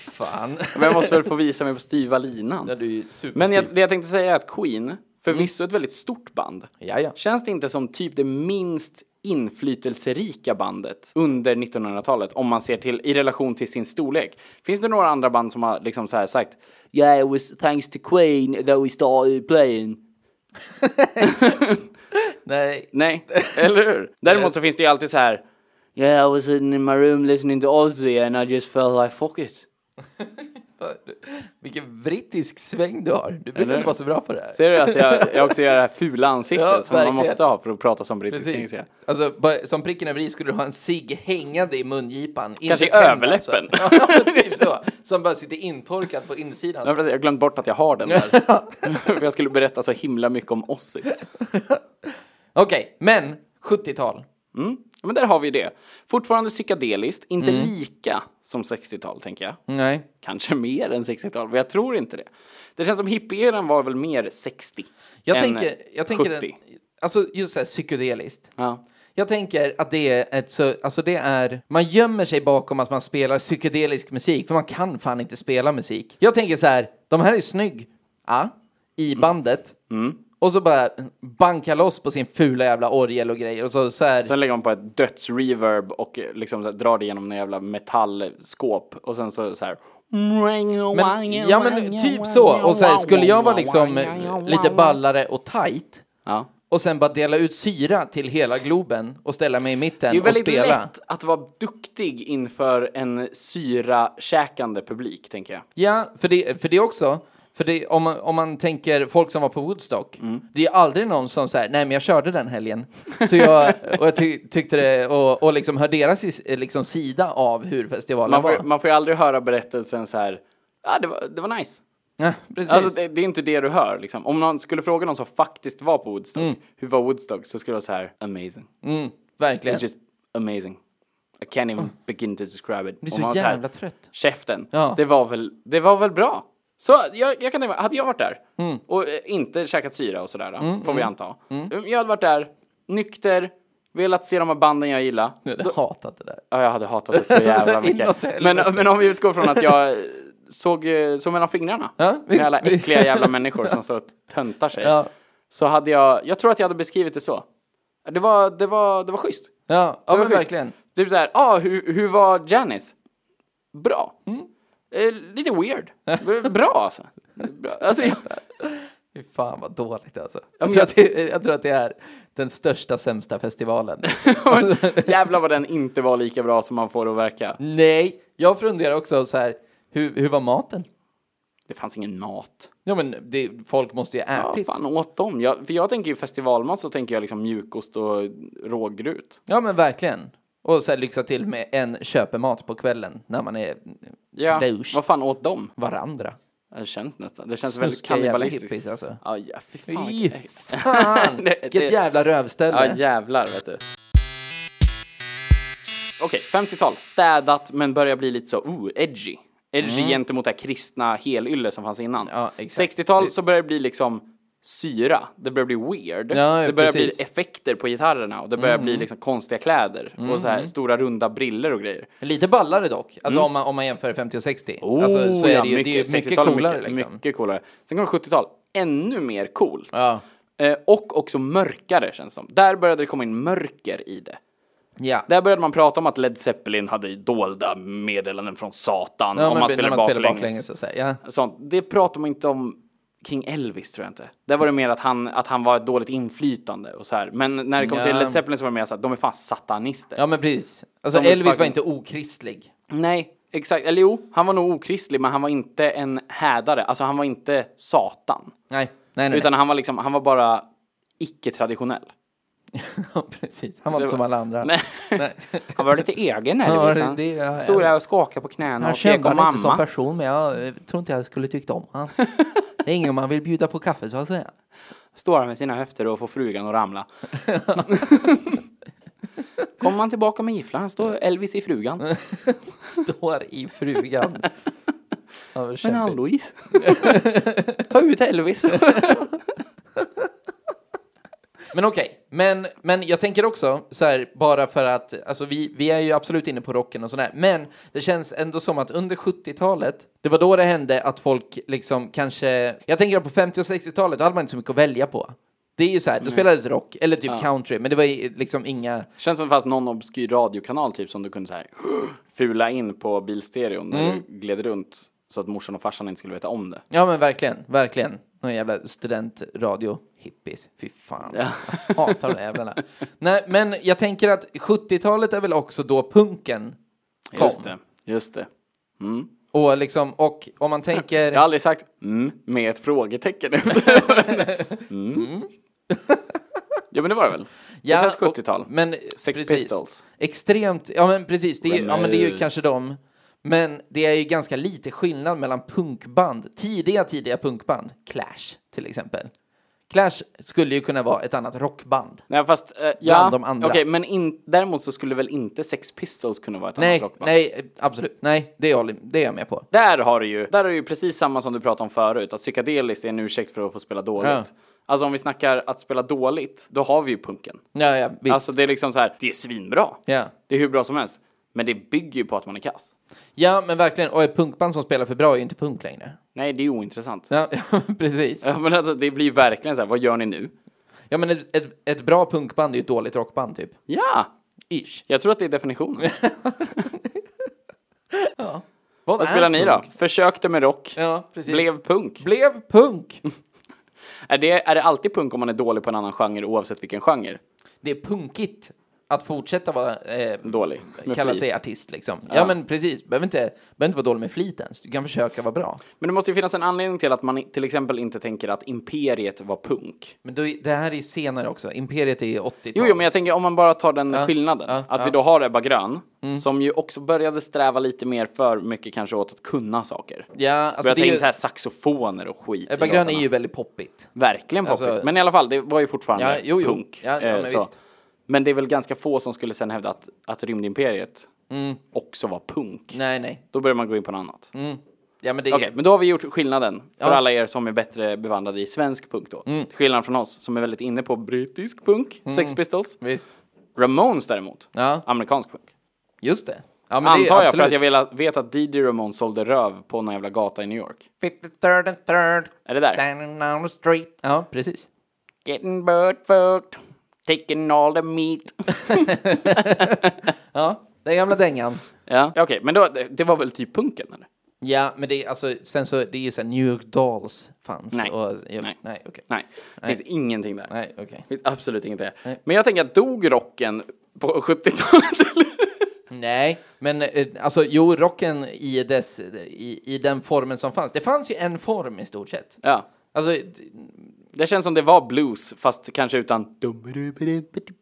S2: Fan.
S1: Men jag måste väl få visa mig på styva linan.
S2: Ja, du är superstyr.
S1: Men jag, det jag tänkte säga är att Queen, förvisso ett väldigt stort band,
S2: Ja, ja.
S1: känns det inte som typ det minst inflytelserika bandet under 1900-talet om man ser till i relation till sin storlek. Finns det några andra band som har liksom så här sagt Yeah, it was thanks to Queen that we started playing.
S2: Nej.
S1: Nej, eller hur? Däremot så finns det ju alltid så här Yeah, I was sitting in my room listening to Ozzy and I just felt like fuck it.
S2: Vilken brittisk sväng du har. Du brukar
S1: Eller?
S2: inte vara så bra på det här.
S1: Ser du att jag, jag också gör det här fula ansiktet
S2: Ja,
S1: som
S2: verkligen.
S1: man måste ha för att prata som brittisk
S2: Precis.
S1: engelska?
S2: Alltså, bara, som pricken över i skulle du ha en cigg hängande i mungipan.
S1: Kanske i
S2: Inte tänd,
S1: överläppen.
S2: Alltså. [LAUGHS] Ja, typ så. Som bara sitter intorkad på insidan.
S1: Jag har glömt bort att jag har den
S2: [LAUGHS]
S1: där. [LAUGHS] För jag skulle berätta så himla mycket om Ozzy.
S2: Okej, men 70-tal.
S1: Men där har vi det. Fortfarande psykedeliskt, inte
S2: Mm.
S1: lika som 60-tal tänker jag.
S2: Nej.
S1: Kanske mer än 60-tal, men jag tror inte det. Det känns som hippie-eran var väl mer 60
S2: Jag
S1: än
S2: tänker, jag tänker
S1: 70.
S2: En, alltså just såhär psykedeliskt.
S1: Ja.
S2: Jag tänker att det är ett så, alltså det är, man gömmer sig bakom att man spelar psykedelisk musik, för man kan fan inte spela musik. Jag tänker så här, de här är snygg, ja, i
S1: Mm.
S2: bandet. Och så bara banka loss på sin fula jävla orgel och grejer och så, så här,
S1: Sen lägger man på ett dödsreverb och eh, liksom så här, drar det genom några jävla metallskåp och sen så, så här.
S2: men, ja men typ så. Och så här, skulle jag vara liksom eh, lite ballare och tight
S1: Ja.
S2: och sen bara dela ut syra till hela Globen och ställa mig i
S1: Det är
S2: mitten och
S1: väldigt
S2: spela.
S1: lätt att vara duktig inför en syrakäkande publik, tänker jag.
S2: Ja, för det, för det också. För det, om, man, om man tänker folk som var på Woodstock,
S1: Mm.
S2: det är ju aldrig någon som säger nej men jag körde den helgen.
S1: [LAUGHS]
S2: Så jag, och jag ty, tyckte det, och, och liksom hör deras is- liksom sida av hur festivalen
S1: Man
S2: var.
S1: får, man får ju aldrig höra berättelsen så här, ja det var, det var nice.
S2: Ja, precis.
S1: Alltså det, det är inte det du hör liksom. Om någon skulle fråga någon som faktiskt var på Woodstock, hur var Woodstock? Så skulle det vara så här, amazing.
S2: Verkligen.
S1: It's just amazing. I can't even begin to describe it.
S2: Jag
S1: Och
S2: blir
S1: man
S2: så
S1: var här,
S2: jävla trött.
S1: Käften.
S2: Ja.
S1: Det, var väl, det var väl bra. Så jag, jag kan tänka mig, hade jag varit där
S2: Mm.
S1: och eh, inte käkat syra och sådär, får vi anta. Mm. Jag hade varit där, nykter, velat se de här banden jag gillar.
S2: Jag hatat det där.
S1: Ja, jag hade hatat det så jävla
S2: [LAUGHS] Så inåt
S1: mycket. Men,
S2: helvete.
S1: men om vi utgår från att jag eh, såg, eh, såg mellan fingrarna
S2: Ja,
S1: med
S2: visst.
S1: alla äckliga jävla människor som står och töntar sig.
S2: Ja.
S1: Så hade jag, jag tror att jag hade beskrivit det så. Det var, det var, det var schysst.
S2: Ja, ja
S1: Det var
S2: men
S1: schysst.
S2: verkligen.
S1: Typ såhär, ah, hur, hur var Janis? Bra.
S2: Mm.
S1: Eh, lite weird. [LAUGHS] B- Bra alltså. Bra. alltså
S2: [LAUGHS]
S1: jag,
S2: Fy fan vad dåligt alltså.
S1: men
S2: Jag tror,
S1: jag-
S2: att det, jag tror att det är den största
S1: [LAUGHS]
S2: sämsta festivalen. Alltså,
S1: jävlar vad den inte var lika bra som man får att verka.
S2: [LAUGHS] Nej, jag funderar också så här, hur, hur var maten?
S1: Det fanns ingen mat.
S2: Ja men det, folk måste ju
S1: Ja,
S2: ätit.
S1: fan åt dem. Jag, för jag tänker ju festivalmat så tänker jag liksom mjukost och rågrut.
S2: Ja men verkligen. Och så här, lyxa till med en köpemat på kvällen när man är
S1: Ja,
S2: douche.
S1: vad fan åt dem?
S2: varandra.
S1: Det känns nästan. Det känns väldigt
S2: Snuskiga jävla hippies
S1: kannibalistiskt.
S2: alltså.
S1: Ja, ja, fy fan.
S2: Fy
S1: vilket- [LAUGHS]
S2: fan!
S1: Det-
S2: Vilket
S1: det-
S2: jävla
S1: Ja,
S2: rövställe.
S1: jävlar vet du. Okej, 50-tal. Städat men börjar bli lite så, oh, edgy. Edgy gentemot det här kristna helylle som fanns innan.
S2: Mm. Ja, exakt.
S1: 60-tal så börjar det bli liksom syra, det börjar bli weird.
S2: Ja, ja,
S1: det börjar
S2: precis. Mm.
S1: bli effekter på gitarrerna och det börjar bli liksom konstiga kläder och så här stora runda briller och grejer.
S2: Lite ballare dock, alltså om, man, om man jämför 50 och 60.
S1: Mm. Oh,
S2: alltså, så är
S1: ja,
S2: det ju, det är ju mycket
S1: 60-tal,
S2: coolare
S1: mycket,
S2: liksom.
S1: Mycket coolare. Sen kommer 70-tal, ännu mer coolt.
S2: Ja.
S1: Eh, och också mörkare känns som. Där började det komma in mörker i det.
S2: Ja.
S1: Där började man prata om att Led Zeppelin hade dolda meddelanden från Satan
S2: Ja,
S1: om
S2: men
S1: man
S2: när
S1: spelar
S2: spelar
S1: baklänges.
S2: baklänges. alltså. så att säga. Ja.
S1: Sånt. Det pratar man inte om kring Elvis tror jag inte. Där var det mer att han, att han var ett dåligt inflytande och så här. Men när det kom till
S2: Ja.
S1: Led Zeppelin så var det mer så att de är fan satanister.
S2: ja, men precis. Alltså
S1: De är
S2: Elvis var
S1: fucking-
S2: inte okristlig.
S1: Nej, exakt. Eller jo, han var nog okristlig men han var inte en hädare. Alltså han var inte Satan.
S2: Nej, nej, nej.
S1: Utan han var liksom, han var bara icke-traditionell.
S2: [LAUGHS] Ja, precis. Han var inte som alla
S1: [LAUGHS]
S2: andra.
S1: Nej.
S2: Nej.
S1: Han var lite egen
S2: [LAUGHS] Ja,
S1: Elvis.
S2: det-
S1: Han
S2: det- ja,
S1: stod där
S2: ja.
S1: och skakade på knäna
S2: Han
S1: och skrek
S2: kände
S1: om
S2: han inte som
S1: mamma.
S2: person, men jag eh, tror inte jag skulle tyckt om han. Det är ingen man vill bjuda på kaffe, så att säga.
S1: Står han med sina höfter och får frugan att [LAUGHS] ramla. Kommer man tillbaka med gifflan står Elvis i frugan. [LAUGHS]
S2: Står i frugan. Ja, vad
S1: Men
S2: kämpigt.
S1: Ann-Louise. Ta ut Elvis.
S2: [LAUGHS] Men okej, men, men jag tänker också så här, bara för att, alltså vi, vi är ju absolut inne på rocken och sådär, men det känns ändå som att under 70-talet, det var då det hände att folk liksom kanske, jag tänker på 50 och 60-talet, då hade man inte så mycket att välja på. Det är ju så här, då spelades rock, eller typ country, men det var ju liksom inga,
S1: Känns som det fanns någon obskyr radiokanal typ som du kunde så här [GASPS] fula in på bilstereon när du gled runt. Så att morsan och farsan inte skulle veta om det.
S2: ja men verkligen, verkligen, någon jävla studentradio, hippies, fy fan.
S1: Ja.
S2: Jag Hatar de där jävlarna. Nej, men jag tänker att 70-talet är väl också då punken kom.
S1: Just det. Just det.
S2: Och, liksom, och om man tänker...
S1: Jag har aldrig sagt mm med ett [LAUGHS] frågetecken. mm. ja men det var det väl?
S2: Ja,
S1: det känns
S2: och-
S1: 70-tal.
S2: Men,
S1: Sex
S2: precis.
S1: Pistols.
S2: Extremt, ja men precis, det är, ju- ja, men det är ju
S1: Ramones.
S2: kanske dem. Men det är ju ganska lite skillnad mellan punkband, tidiga, tidiga punkband, Clash till exempel. Clash skulle ju kunna vara ett annat rockband.
S1: Nej fast, eh, ja,
S2: Bland de andra.
S1: okej men in, däremot så skulle väl inte Sex Pistols kunna vara ett
S2: Nej,
S1: annat rockband?
S2: nej, eh, absolut, nej, det är, jag, håller- det är jag med på.
S1: Där har du ju, där är det ju precis samma som du pratade om förut, att psykedeliskt är en ursäkt för att få spela dåligt.
S2: Ja.
S1: Alltså om vi snackar att spela dåligt, då har vi ju punken.
S2: Ja, ja, visst.
S1: Alltså det är liksom så här, det är svinbra.
S2: Ja.
S1: Det är hur bra som helst. Men det bygger ju på att man är kass.
S2: ja, men verkligen, och ett punkband som spelar för bra är ju inte punk längre.
S1: Nej, det är ju ointressant. [LAUGHS] Ja.
S2: Ja, [LAUGHS] precis.
S1: men alltså, det blir ju verkligen så här, vad gör ni nu?
S2: Ja, men ett, ett, ett bra punkband är ju ett dåligt rockband, typ.
S1: Ja,
S2: Ish.
S1: jag tror att det är definitionen.
S2: Vad,
S1: Vad
S2: är
S1: spelar ni då?
S2: punk?
S1: Försökte med rock,
S2: Äh? Ja, precis.
S1: blev punk.
S2: Blev punk.
S1: Är det, är det alltid punk om man är dålig på en annan genre oavsett vilken genre?
S2: Det är punkigt att fortsätta vara, eh,
S1: Dålig. med
S2: kalla
S1: flit.
S2: sig artist liksom. Ja, men precis, behöver inte, behöver inte vara dålig med flit ens. Du kan försöka vara bra.
S1: Men det måste ju finnas en anledning till att man i- till exempel inte tänker att Imperiet var punk.
S2: Men då, är- det här är senare också. Imperiet är 80-tal.
S1: Jo, jo, men jag tänker om man bara tar den skillnaden.
S2: ja,
S1: att
S2: ja. Mm.
S1: vi då har Ebba Grön, som ju också började sträva lite mer för mycket kanske åt att kunna saker.
S2: Ja, alltså
S1: Började ta
S2: det är
S1: in
S2: ju,
S1: så här saxofoner och skit i
S2: Ebba Grön är
S1: låtarna.
S2: ju väldigt poppigt.
S1: Verkligen poppigt.
S2: Alltså-
S1: men i alla fall, det var ju fortfarande
S2: Ja, jo, jo.
S1: punk.
S2: Ja, ja,
S1: eh,
S2: men
S1: så.
S2: visst.
S1: men det är väl ganska få som skulle sen hävda att, att Rymdimperiet också var punk.
S2: Mm. Nej, nej.
S1: Då börjar man gå in på något annat.
S2: Ja, men det är...
S1: Okej, men då har vi gjort skillnaden för alla er som är bättre bevandrade i svensk punk då. Skillnaden från oss som är väldigt inne på brittisk punk, Sex Pistols.
S2: Visst.
S1: Ramones däremot,
S2: Ja.
S1: amerikansk punk.
S2: Just det. Ja, men det är
S1: Antar jag för
S2: absolut.
S1: att jag vill- vet att Didi Ramones sålde röv på någon jävla gata i New York.
S2: 53rd and 3rd.
S1: Är det där?
S2: Standing on the street. Ja, precis.
S1: Getting bird fucked, taking all the meat.
S2: Ja, den gamla dängan.
S1: [LAUGHS] ja, okej, men då, det, det var väl typ punken eller?
S2: Ja, men det är alltså, sen så, det är ju så här, New York Dolls fanns.
S1: Nej.
S2: Och, jag,
S1: Nej.
S2: Nej, okej.
S1: Nej, det finns ingenting där.
S2: Nej, okej.
S1: Det finns absolut inget där. Men jag tänker att dog rocken på [LAUGHS] 70-talet? eller?
S2: Nej, men eh, alltså jo, rocken i, dess, i, i den formen som fanns. Det fanns ju en form i stort sett.
S1: ja.
S2: Alltså, d-
S1: Det känns som det var blues, fast kanske utan...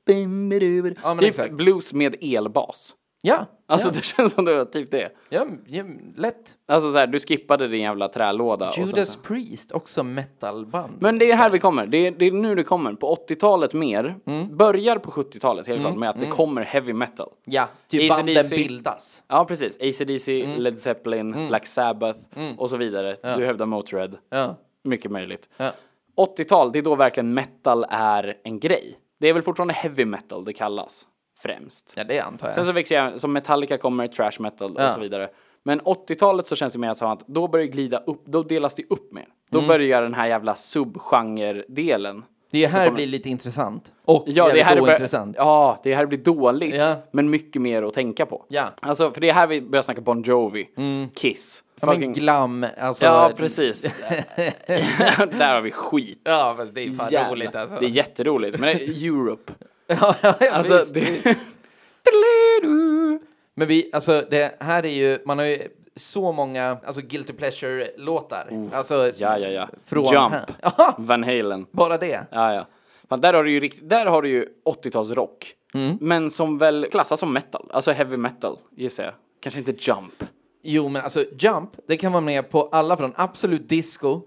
S1: typ
S2: exakt.
S1: blues med elbas.
S2: ja.
S1: Alltså
S2: ja,
S1: det känns som det var typ det.
S2: ja, ja, lätt.
S1: Alltså så här, du skippade din jävla trälåda. Och sen
S2: Judas
S1: så.
S2: Priest, också metalband.
S1: Men det är här vi kommer. Det är, det är nu det kommer. På 80-talet mer.
S2: Mm.
S1: Börjar på 70-talet helt klart med att det kommer heavy metal.
S2: Ja, typ
S1: AC/DC.
S2: banden bildas.
S1: Ja, precis. AC/DC,
S2: Mm.
S1: Led Zeppelin, Black Sabbath och så vidare. Du hävdar Motörhead.
S2: Ja.
S1: Mycket möjligt.
S2: Ja.
S1: 80-tal, det är då verkligen metal är en grej. Det är väl fortfarande heavy metal det kallas, främst.
S2: Ja, det antar jag.
S1: Sen så växer jag, som Metallica kommer, trash metal och
S2: Ja.
S1: så vidare. Men 80-talet så känns det mer som att då börjar det glida upp, då delas det upp mer. Då
S2: Mm.
S1: börjar den här jävla subgenre-delen.
S2: det är ju här det blir lite intressant. Och
S1: Ja, det
S2: jävligt
S1: här, är börjar,
S2: ointressant.
S1: ja, det här blir dåligt,
S2: Ja.
S1: men mycket mer att tänka på.
S2: Ja. Mm.
S1: Alltså, för det är här vi börjar snacka Bon Jovi, Kiss.
S2: Ja, men
S1: fucking-
S2: glam, alltså.
S1: ja
S2: [LAUGHS]
S1: precis. [LAUGHS] Där har vi skit.
S2: Ja, fast det är fan
S1: Jävlar.
S2: roligt alltså.
S1: Det [LAUGHS] är jätteroligt,
S2: [LAUGHS]
S1: men det är Europe.
S2: ja, ja, [LAUGHS] ja,
S1: Alltså,
S2: visst.
S1: det...
S2: Men vi, alltså det här är ju, man har ju så många, alltså guilty pleasure-låtar. Alltså,
S1: Ja, ja, ja.
S2: Från
S1: Jump.
S2: här. [LAUGHS] Ja,
S1: Van Halen.
S2: bara det.
S1: Ja, ja. Fan, där har du ju, rikt- där har du ju 80-talsrock.
S2: Mm.
S1: Men som väl klassas som metal. Alltså heavy metal, gissar jag. Kanske inte jump.
S2: Jo, men alltså Jump, det kan vara med på alla från
S1: [LAUGHS]
S2: absolut disco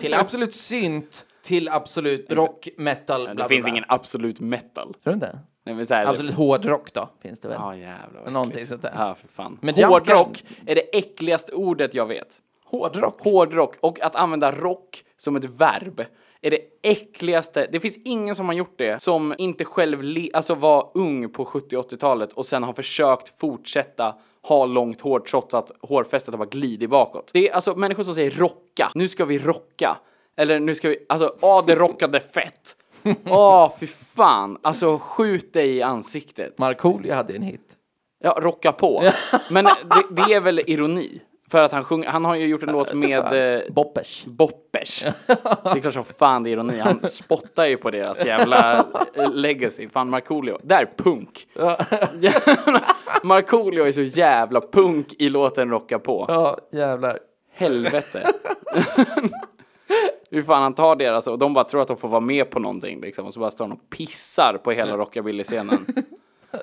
S2: till absolut synt till absolut rock, metal, bla,
S1: Det
S2: bla,
S1: finns
S2: bla.
S1: ingen absolut metal.
S2: Tror du inte?
S1: Nej, men så här,
S2: Absolut hårdrock då, finns det väl?
S1: Ja, jävlar. vad
S2: Någonting
S1: äckligt.
S2: sånt där.
S1: Ja, för fan.
S2: Men jump
S1: Hårdrock är det äckligaste ordet jag vet.
S2: Hårdrock?
S1: Hårdrock och att använda rock som ett verb är det äckligaste. Det finns ingen som har gjort det som inte själv le- alltså var ung på 70 80-talet och sen har försökt fortsätta ha långt hår trots att hårfästet har bara glidit bakåt. Det är alltså människor som säger rocka. Nu ska vi rocka. Eller nu ska vi, alltså, ja det rockade fett. Åh, fy fan. Alltså skjut dig i ansiktet.
S2: Markoolio hade ju en hit.
S1: Ja, rocka på. Men det, det är väl ironi? För att han sjunger, han har ju gjort en låt med eh,
S2: Boppers.
S1: Boppers. Det är klart som fan det är ironi. Han spottar ju på deras jävla eh, legacy. Fan Markoolio. Där, punk. Markoolio är så jävla punk i låten Rocka på.
S2: Ja, jävlar.
S1: Helvete. Hur fan han tar deras och de bara tror att de får vara med på någonting liksom. Och så bara står han och pissar på hela rockabilly-scenen.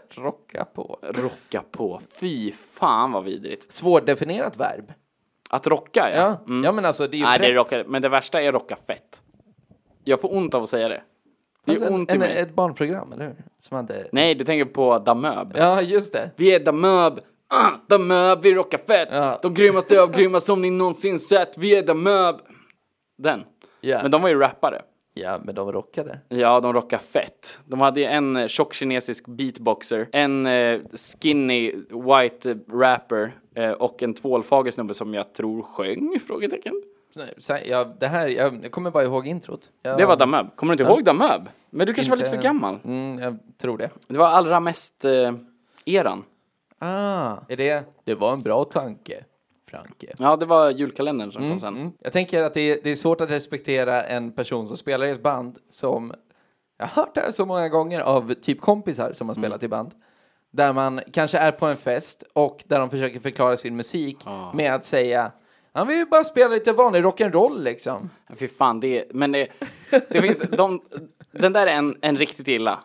S2: Rocka på.
S1: Rocka på. Fy fan vad vidrigt.
S2: Svårdefinierat verb.
S1: Att rocka ja.
S2: Ja, ja men alltså det är ju
S1: Nej, det är
S2: fräckt.
S1: rocka, men det värsta är rocka fett. Jag får ont av att säga det. Det
S2: Alltså,
S1: är
S2: en-
S1: ont i
S2: en,
S1: mig.
S2: Ett barnprogram, eller hur? Som hade...
S1: Nej, du tänker på Damöb.
S2: Ja, just det.
S1: Vi är Damöb. Ah, Damöb, vi rockar fett.
S2: Ja.
S1: De grymmaste av grymma som ni någonsin sett. Vi är Damöb. Den.
S2: Ja.
S1: Men de var ju rappare.
S2: Ja, men de rockade.
S1: Ja, de rockar fett. De hade ju en eh, tjock kinesisk beatboxer, en eh, skinny white eh, rapper eh, och en tvålfager snubbe som jag tror sjöng? Frågetecken.
S2: Så här, ja, det här, jag, jag kommer bara ihåg introt. Jag,
S1: Det var Damöb. Kommer du inte ihåg Damöb? Men du kanske var lite
S2: Inte-
S1: för gammal?
S2: Mm, jag tror det.
S1: Det var allra mest eh, eran.
S2: Ah, är det... Det var en bra tanke, Franke.
S1: Ja, det var julkalendern som kom sen.
S2: Mm. Jag tänker att det är, det är svårt att respektera en person som spelar i ett band som... Jag har hört det här så många gånger av typ kompisar som har
S1: Mm.
S2: spelat i band. Där man kanske är på en fest och där de försöker förklara sin musik
S1: Ah.
S2: med att säga han vill ju bara spela lite vanlig rock'n'roll liksom.
S1: Fy fan, det är, men det, det finns, de, den där är en, en riktigt illa.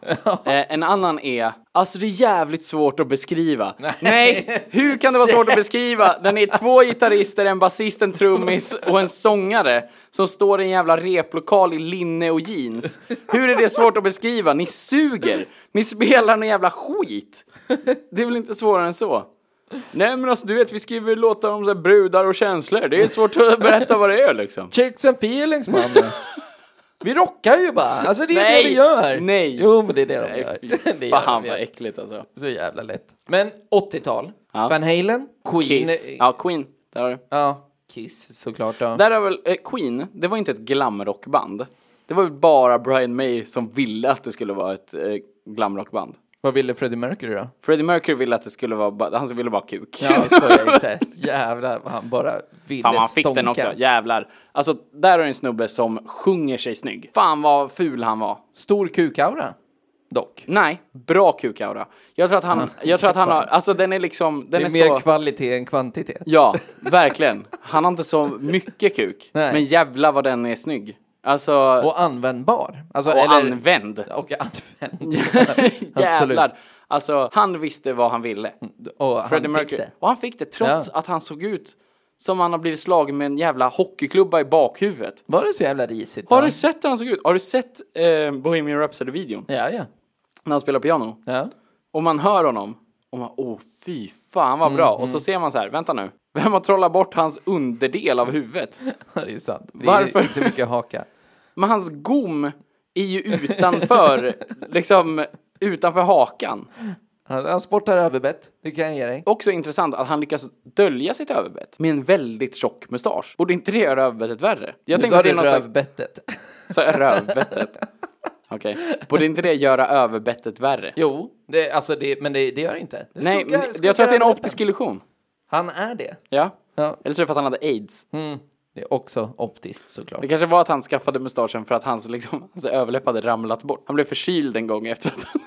S1: Eh, en annan är, alltså det är jävligt svårt att beskriva. Nej. hur kan det vara svårt att beskriva? Den är två gitarrister, en basist, en trummis och en sångare som står i en jävla replokal i linne och jeans. Hur är det svårt att beskriva? Ni suger! Ni spelar någon jävla skit! Det är väl inte svårare än så? Nej men alltså du vet, vi skriver låtar om så här, brudar och känslor. Det är svårt att berätta vad det är liksom.
S2: Chicks and feelings man.
S1: [LAUGHS]
S2: vi rockar ju bara. Alltså det är
S1: Nej,
S2: det vi gör.
S1: nej.
S2: Jo men det är det de gör.
S1: Nej, fy
S2: [LAUGHS] det gör
S1: fan
S2: de
S1: vad
S2: ju.
S1: äckligt alltså.
S2: Så jävla lätt. Men 80-tal. Van Halen. Queen.
S1: Kiss. Ja, Queen. Där har du.
S2: Ja, Kiss såklart. Ja.
S1: Där har väl, eh, Queen, det var inte ett glamrockband. Det var väl bara Brian May som ville att det skulle vara ett eh, glamrockband.
S2: Vad ville Freddie Mercury då?
S1: Freddie Mercury ville att det skulle vara, ba- han ville bara ha kuk.
S2: Ja, alltså,
S1: [LAUGHS]
S2: jag skojar inte. [LAUGHS] Jävlar vad han bara ville
S1: Fan, han fick
S2: stånka.
S1: den också, jävlar. Alltså, där har du en snubbe som sjunger sig snygg. Fan vad ful han var.
S2: Stor kukaura, dock.
S1: Nej, bra kukaura. Jag tror att han, jag tror att
S2: [LAUGHS]
S1: han har, alltså den är liksom, den
S2: Det
S1: är,
S2: är, mer
S1: så...
S2: kvalitet än kvantitet.
S1: Ja, verkligen. Han har inte så mycket kuk.
S2: Nej.
S1: Men jävla vad den är snygg. Alltså, och,
S2: Och användbar. Alltså,
S1: använd. [LAUGHS]
S2: Och använd. Absolut.
S1: Jävlar. Alltså, han visste vad han ville.
S2: Och han
S1: Freddie
S2: fick
S1: Mercury.
S2: det.
S1: Och han fick det trots att han såg ut som han har blivit slagen med en jävla hockeyklubba i bakhuvudet.
S2: Var det så jävla risigt?
S1: Har
S2: då?
S1: du sett hur han såg ut? Har du sett eh, Bohemian Rhapsody-videon?
S2: Ja, ja.
S1: När han spelar piano?
S2: ja.
S1: Och man hör honom. Och man, åh fy fan vad
S2: Mm,
S1: bra. Och så ser man så här, vänta nu. Vem har trollat bort hans underdel av huvudet?
S2: [LAUGHS] Det är sant. Det är
S1: Varför?
S2: inte mycket att haka.
S1: Men hans gom är ju
S2: [LAUGHS]
S1: utanför, liksom utanför hakan.
S2: Han, han sportar överbett, det kan jag ge dig.
S1: Också intressant att han lyckas dölja sitt överbett med en väldigt tjock mustasch. Borde inte det göra överbettet värre? Jag
S2: Nu
S1: tänker
S2: sa
S1: att det
S2: du
S1: är någon slags...
S2: rövbettet.
S1: Så rövbettet. Okej. Borde inte det göra överbettet värre?
S2: [LAUGHS] Jo, det, alltså det, men det, det gör det inte. Det
S1: Nej,
S2: skuggar-
S1: men
S2: skuggar
S1: jag tror att det är en
S2: överbetten.
S1: optisk illusion.
S2: Han är det.
S1: Ja.
S2: Ja.
S1: Eller så är det för att han hade aids.
S2: Mm. Det är också optiskt såklart.
S1: Det kanske var att han skaffade mustaschen för att hans, liksom, hans överläpp hade ramlat bort. Han blev förkyld en gång efter att han...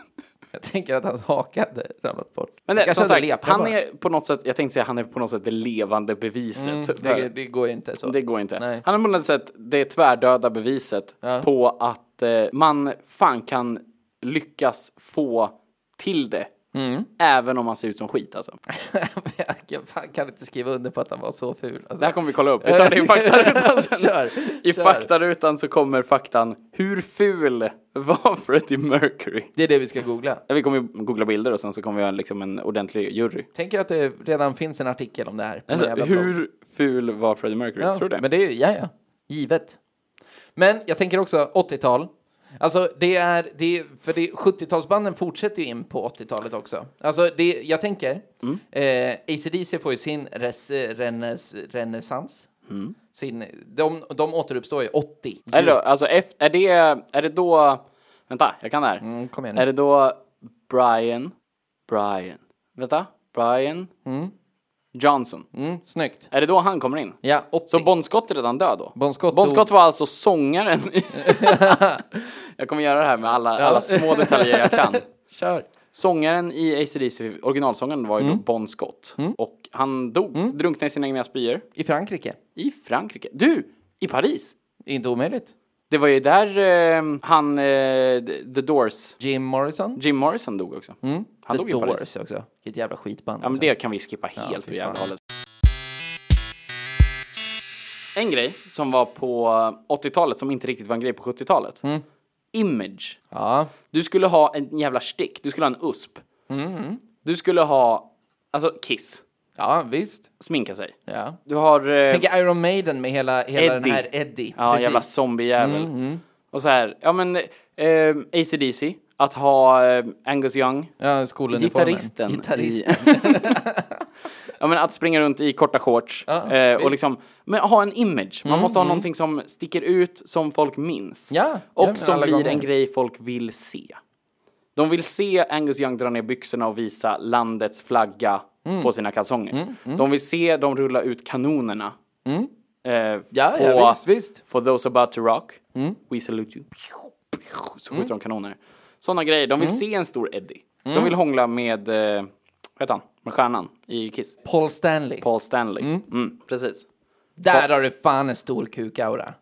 S2: Jag [LAUGHS] tänker att hans haka hade ramlat bort.
S1: Men det,
S2: kanske
S1: som
S2: hade
S1: sagt,
S2: lepat
S1: han
S2: bara.
S1: är på något sätt, jag tänkte säga han är på något sätt det levande beviset. för-
S2: Det, det går ju inte så.
S1: Det går inte.
S2: Mm, Nej.
S1: Han har på något sätt det tvärdöda beviset på att eh, man fan kan lyckas få till det.
S2: Mm.
S1: Även om man ser ut som skit alltså.
S2: [LAUGHS] jag fan kan inte skriva under på att han var så ful. Alltså.
S1: Det här kommer vi kolla upp.
S2: [LAUGHS]
S1: Vi tar det i faktarutan sen.
S2: Kör,
S1: I
S2: kör.
S1: faktarutan så kommer faktan Hur ful var Freddie Mercury?
S2: Det är det vi ska googla.
S1: Ja, Vi kommer ju googla bilder och sen så kommer vi ha en- liksom en ordentlig jury.
S2: Tänker att det redan finns en artikel om det här. på
S1: Alltså,
S2: någon jävla blogg.
S1: hur ful var Freddie Mercury?
S2: Ja,
S1: Tror du det?
S2: Men det är ja, ja, givet. Men jag tänker också 80-tal. Alltså det är, det är för det, 70-talsbanden fortsätter ju in på 80-talet också. Alltså det, jag tänker,
S1: Mm.
S2: eh, ACDC får ju sin res, renäs, renässans. Sin, de, de återuppstår ju 80.
S1: Mm. Eller då, alltså, eft- är det, är det då... Vänta, jag kan det här.
S2: Mm, kom igen
S1: Är
S2: nu.
S1: det då Brian, Brian, vänta, Brian Johnson?
S2: Mm, snyggt.
S1: Är det då han kommer in?
S2: Ja, 80.
S1: Så Bon Scott är redan död då?
S2: Bon Scott
S1: bon Scott
S2: dog.
S1: var alltså sångaren i... [LAUGHS] jag kommer göra det här med alla, alla små detaljer jag
S2: [LAUGHS]
S1: kan.
S2: Kör.
S1: Sångaren i ACDC, originalsångaren var ju
S2: Mm.
S1: då Bon Scott. Och han dog, drunknade i sina egna spyor
S2: I Frankrike.
S1: i Frankrike. Du! I Paris!
S2: Inte omöjligt.
S1: Det var ju där eh, han, eh, The Doors,
S2: Jim Morrison.
S1: Jim Morrison dog också. Han dog
S2: Mm. The
S1: i Paris.
S2: Doors också. Vilket jävla skitband.
S1: Ja men
S2: alltså.
S1: det kan vi skippa helt
S2: fy
S1: och jävla
S2: fan.
S1: hållet. En grej som var på 80-talet som inte riktigt var en grej på 70-talet.
S2: Mm.
S1: Image.
S2: Ja.
S1: Du skulle ha en jävla stick, du skulle ha en USP.
S2: Mm.
S1: Du skulle ha, alltså Kiss,
S2: ja, visst.
S1: sminka sig.
S2: Ja.
S1: Du har... eh,
S2: Tänk Iron Maiden med hela, hela den
S1: Eddie.
S2: här Eddie.
S1: Ja,
S2: Precis. Mm,
S1: jävla zombiejävel. Och så här, ja men eh, ACDC, att ha eh, Angus Young,
S2: Ja, skoluniformen.
S1: Gitarristen.
S2: Gitarristen.
S1: I, ja, men att springa runt i korta shorts.
S2: Ja,
S1: eh, och
S2: visst. Mm,
S1: liksom, men ha en image. Man måste ha någonting som sticker ut, som folk minns.
S2: Ja, ja, men
S1: [LAUGHS] och som
S2: alla
S1: blir
S2: gånger.
S1: en grej folk vill se. De vill se Angus Young dra ner byxorna och visa landets flagga
S2: Mm.
S1: på sina kalsonger. De vill se dem rulla ut kanonerna. eh,
S2: Mm. Ja,
S1: på
S2: ja, visst, visst. Mm.
S1: For those about to rock, we salute you. Så skjuter de kanoner. Sådana grejer. De vill
S2: Mm.
S1: se en stor Eddie. De vill hångla med, eh, vad heter han, med stjärnan i Kiss.
S2: Paul Stanley.
S1: Paul Stanley. Mm. precis.
S2: Där har du fan en stor kukaura.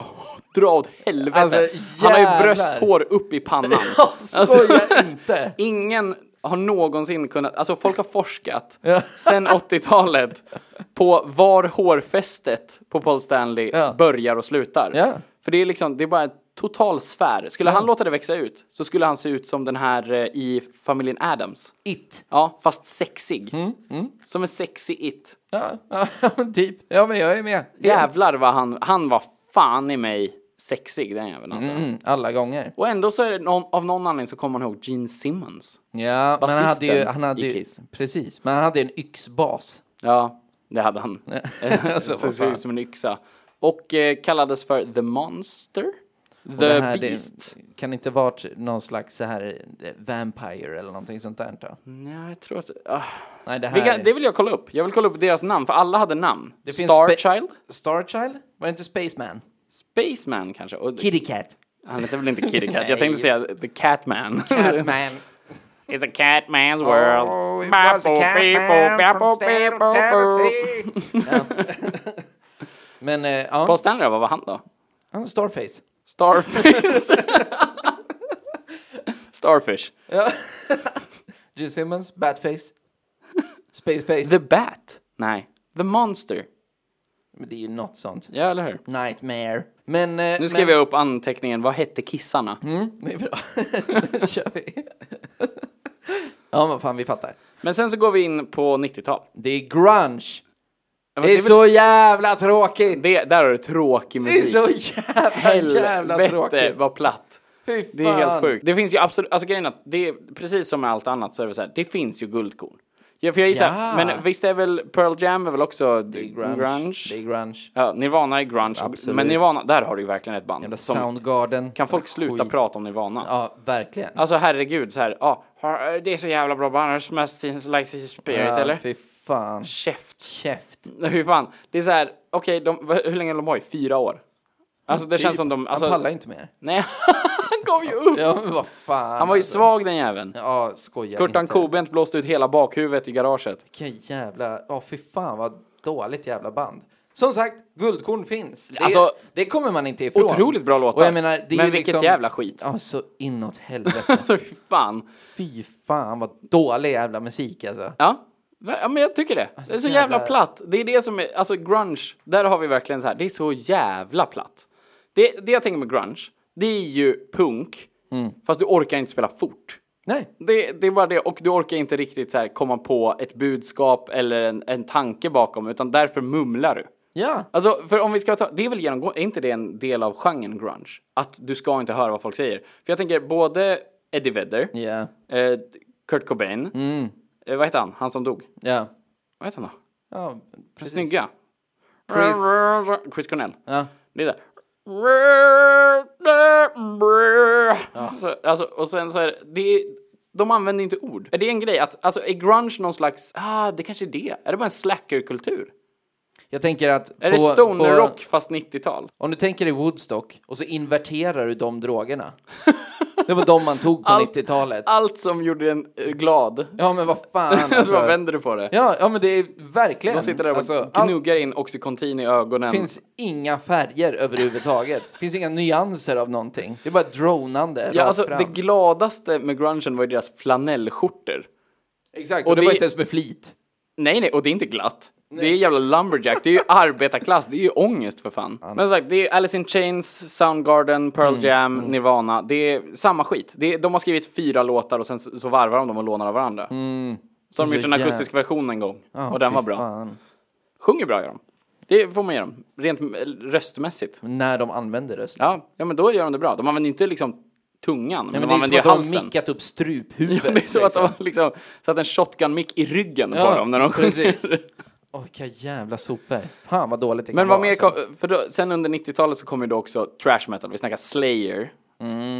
S1: Dra åt helvete.
S2: Alltså,
S1: han har
S2: jävlar.
S1: ju brösthår upp i pannan. [LAUGHS] alltså.
S2: Skoja inte!
S1: Ingen har någonsin kunnat, alltså folk har
S2: [LAUGHS]
S1: forskat sen 80-talet på var hårfästet på Paul Stanley
S2: Ja.
S1: börjar och slutar.
S2: Ja.
S1: För det är liksom, det är bara en total sfär. Skulle han låta det växa ut så skulle han se ut som den här eh, i familjen Adams.
S2: It.
S1: Ja, fast sexig.
S2: Mm,
S1: Som en sexig it.
S2: Ja, ja, men typ. Ja, men jag är med.
S1: Jävlar vad han, han var fan i mig sexig den jäveln alltså.
S2: Mm, alla gånger.
S1: Och ändå så är det någon, av någon anledning så kommer man ihåg Gene Simmons.
S2: Ja, men han hade ju...
S1: Basisten
S2: Han hade
S1: i
S2: ju
S1: Kiss.
S2: precis, men han hade ju en yxbas.
S1: Ja, det hade han. [LAUGHS]
S2: [LAUGHS] Alltså,
S1: Så
S2: vad
S1: såg
S2: fan.
S1: ut som en yxa. Och eh, kallades för The Monster.
S2: Det
S1: The
S2: här, det-
S1: Beast.
S2: Kan inte varit någon slags så här eh, Vampire eller någonting sånt där då?
S1: Ja, jag tror att... ah.
S2: Nej, det här...
S1: Vilka, Mm. det vill jag kolla upp. Jag vill kolla upp deras namn, för alla hade namn.
S2: det finns spe-
S1: Starchild?
S2: Starchild? Var det inte Spaceman?
S1: Spaceman kanske? Och,
S2: Kitty
S1: [LAUGHS]
S2: Cat.
S1: han hette väl inte Kitty Cat?
S2: Nej.
S1: jag tänkte säga The Catman.
S2: Catman.
S1: [LAUGHS] It's a catman's world.
S2: Oh, it was a
S1: Bappo,
S2: Catman
S1: bappo,
S2: from
S1: bappo,
S2: state of
S1: bappo.
S2: Tennessee. Ja. [LAUGHS] Men eh, ja,
S1: Paul Stanley då, vad var han då?
S2: han är Starface. [LAUGHS]
S1: Starface. Starfish.
S2: Gene Simmons, Batface. Spaceface.
S1: The Bat? Nej. The Monster.
S2: Men det är ju något sånt.
S1: Ja, eller hur?
S2: Nightmare. Men... Mm. Eh,
S1: Nu skrev jag upp anteckningen, vad hette kissarna?
S2: [LAUGHS] Det är bra. Nu kör vi. [LAUGHS] ja, men fan, vi fattar.
S1: Men sen så går vi in på 90-tal.
S2: Det är grunge.
S1: Ja, men
S2: Det är
S1: väl-
S2: så jävla tråkigt!
S1: det, där har du tråkig
S2: Det är
S1: musik.
S2: så jävla, jävla
S1: Helvete,
S2: tråkigt.
S1: vad platt.
S2: Fy
S1: Det är helt
S2: fan.
S1: sjukt. Det finns ju absolut, alltså grejen är att det är precis som med allt annat så är det så här, det finns ju guldkorn. Ja, för jag gissar,
S2: Ja.
S1: men visst är väl Pearl Jam är väl också grunge?
S2: Det är grunge.
S1: Ja, Nirvana är grunge,
S2: Absolut.
S1: men Nirvana, där har du ju verkligen ett band.
S2: Jävla
S1: som-
S2: Soundgarden.
S1: Kan folk sluta
S2: Skit.
S1: prata om Nirvana?
S2: Ja, verkligen.
S1: Alltså herregud, så här, ja, har- det är så jävla bra band, Har Smash Teens Like His Spirit
S2: Ja,
S1: eller?
S2: Fy fan.
S1: Käft. [LAUGHS]
S2: Käft.
S1: Nej, Hur fan, det är så här, okej, de- v- hur länge har de varit? Fyra år? Alltså det känns som de, alltså,
S2: Typ. Han pallar ju inte mer.
S1: nej, han gav ju upp!
S2: Ja, men vad fan.
S1: Han var ju
S2: alltså.
S1: svag den jäveln.
S2: Ja, skoja
S1: Kurtan
S2: inte.
S1: Kobent blåste ut hela bakhuvudet i garaget.
S2: Vilken jävla... Ja, fy fan vad dåligt jävla band. Som sagt, guldkorn finns. Det,
S1: Alltså-
S2: det kommer man inte ifrån.
S1: Otroligt bra låtar.
S2: Och jag menar, det är
S1: Men
S2: ju
S1: vilket
S2: liksom,
S1: jävla skit.
S2: Ja, så inåt helvete.
S1: [LAUGHS] Alltså fy fan.
S2: Fy fan vad dålig jävla musik alltså.
S1: Ja. ja, men jag tycker det. Det är så
S2: jävla-
S1: jävla platt. Det är det som är, alltså grunge, där har vi verkligen så här, det är så jävla platt. Det, det jag tänker med grunge, det är ju punk,
S2: Mm.
S1: fast du orkar inte spela fort.
S2: Nej.
S1: Det, det är bara det, och du orkar inte riktigt så här komma på ett budskap eller en, en tanke bakom, utan därför mumlar du.
S2: Ja.
S1: Alltså, för om vi ska ta, det är väl genomgå, är inte det en del av genren grunge? Att du ska inte höra vad folk säger. För jag tänker både Eddie Vedder,
S2: Ja. Mm.
S1: eh, Kurt Cobain, eh, vad heter han, han som dog?
S2: Ja.
S1: Vad heter han då?
S2: Ja. precis.
S1: Snygga.
S2: Chris.
S1: Chris Cornell.
S2: Ja.
S1: Det är där. Så, alltså, och sen så är det- det, är- de använder inte ord. Är det en grej att, alltså är grunge någon slags, ah det kanske är det, är det bara en slackerkultur?
S2: Jag tänker att...
S1: Är det stonerrock fast 90-tal?
S2: Om du tänker dig Woodstock och så inverterar du de drogerna. [LAUGHS] Det var de man tog på
S1: Allt-
S2: 90-talet.
S1: Allt som gjorde en eh, glad.
S2: Ja men vad fan
S1: [LAUGHS] så bara
S2: alltså.
S1: vänder du på det.
S2: Ja, ja men det är verkligen.
S1: De sitter där och
S2: alltså, allt
S1: gnuggar in oxycontin i ögonen.
S2: finns inga färger överhuvudtaget. finns inga nyanser av någonting. Det är bara dronande
S1: ja,
S2: rakt
S1: alltså,
S2: fram.
S1: det gladaste med grungen var ju deras flanellskjortor.
S2: Exakt, och,
S1: och
S2: det,
S1: det-
S2: var inte ens med flit.
S1: Nej, nej, och det är inte glatt. Det är jävla lumberjack,
S2: [LAUGHS]
S1: det är ju arbetarklass, det är ju ångest för fan. Men som sagt, det är Alice in Chains, Soundgarden, Pearl
S2: Mm.
S1: Jam, Nirvana. Det är samma skit. Det är, de har skrivit fyra låtar och sen så, så varvar de dem och lånar av varandra. Så har de
S2: Mm. Så
S1: gjort en
S2: jävla-
S1: akustisk version en gång
S2: Ja,
S1: och den
S2: fy
S1: var bra.
S2: fan.
S1: Sjunger bra gör de. Det får man ge dem, rent eh, röstmässigt.
S2: När de använder rösten.
S1: Ja, ja, men då gör de det bra. De använder ju inte liksom tungan, men,
S2: Nej, men
S1: de
S2: det är som
S1: använder ju
S2: att de har
S1: halsen.
S2: mickat upp
S1: [LAUGHS]
S2: struphuvudet.
S1: Det är så att de
S2: liksom.
S1: har liksom satt en shotgun-mick i ryggen
S2: Ja,
S1: på dem när de
S2: precis.
S1: sjunger.
S2: Åh, vilka jävla sopor. Fan vad dåligt det
S1: Men
S2: kan
S1: vad
S2: vara,
S1: mer
S2: alltså.
S1: kom, för då, sen under 90-talet så kom ju då också trash metal, vi snackar Slayer.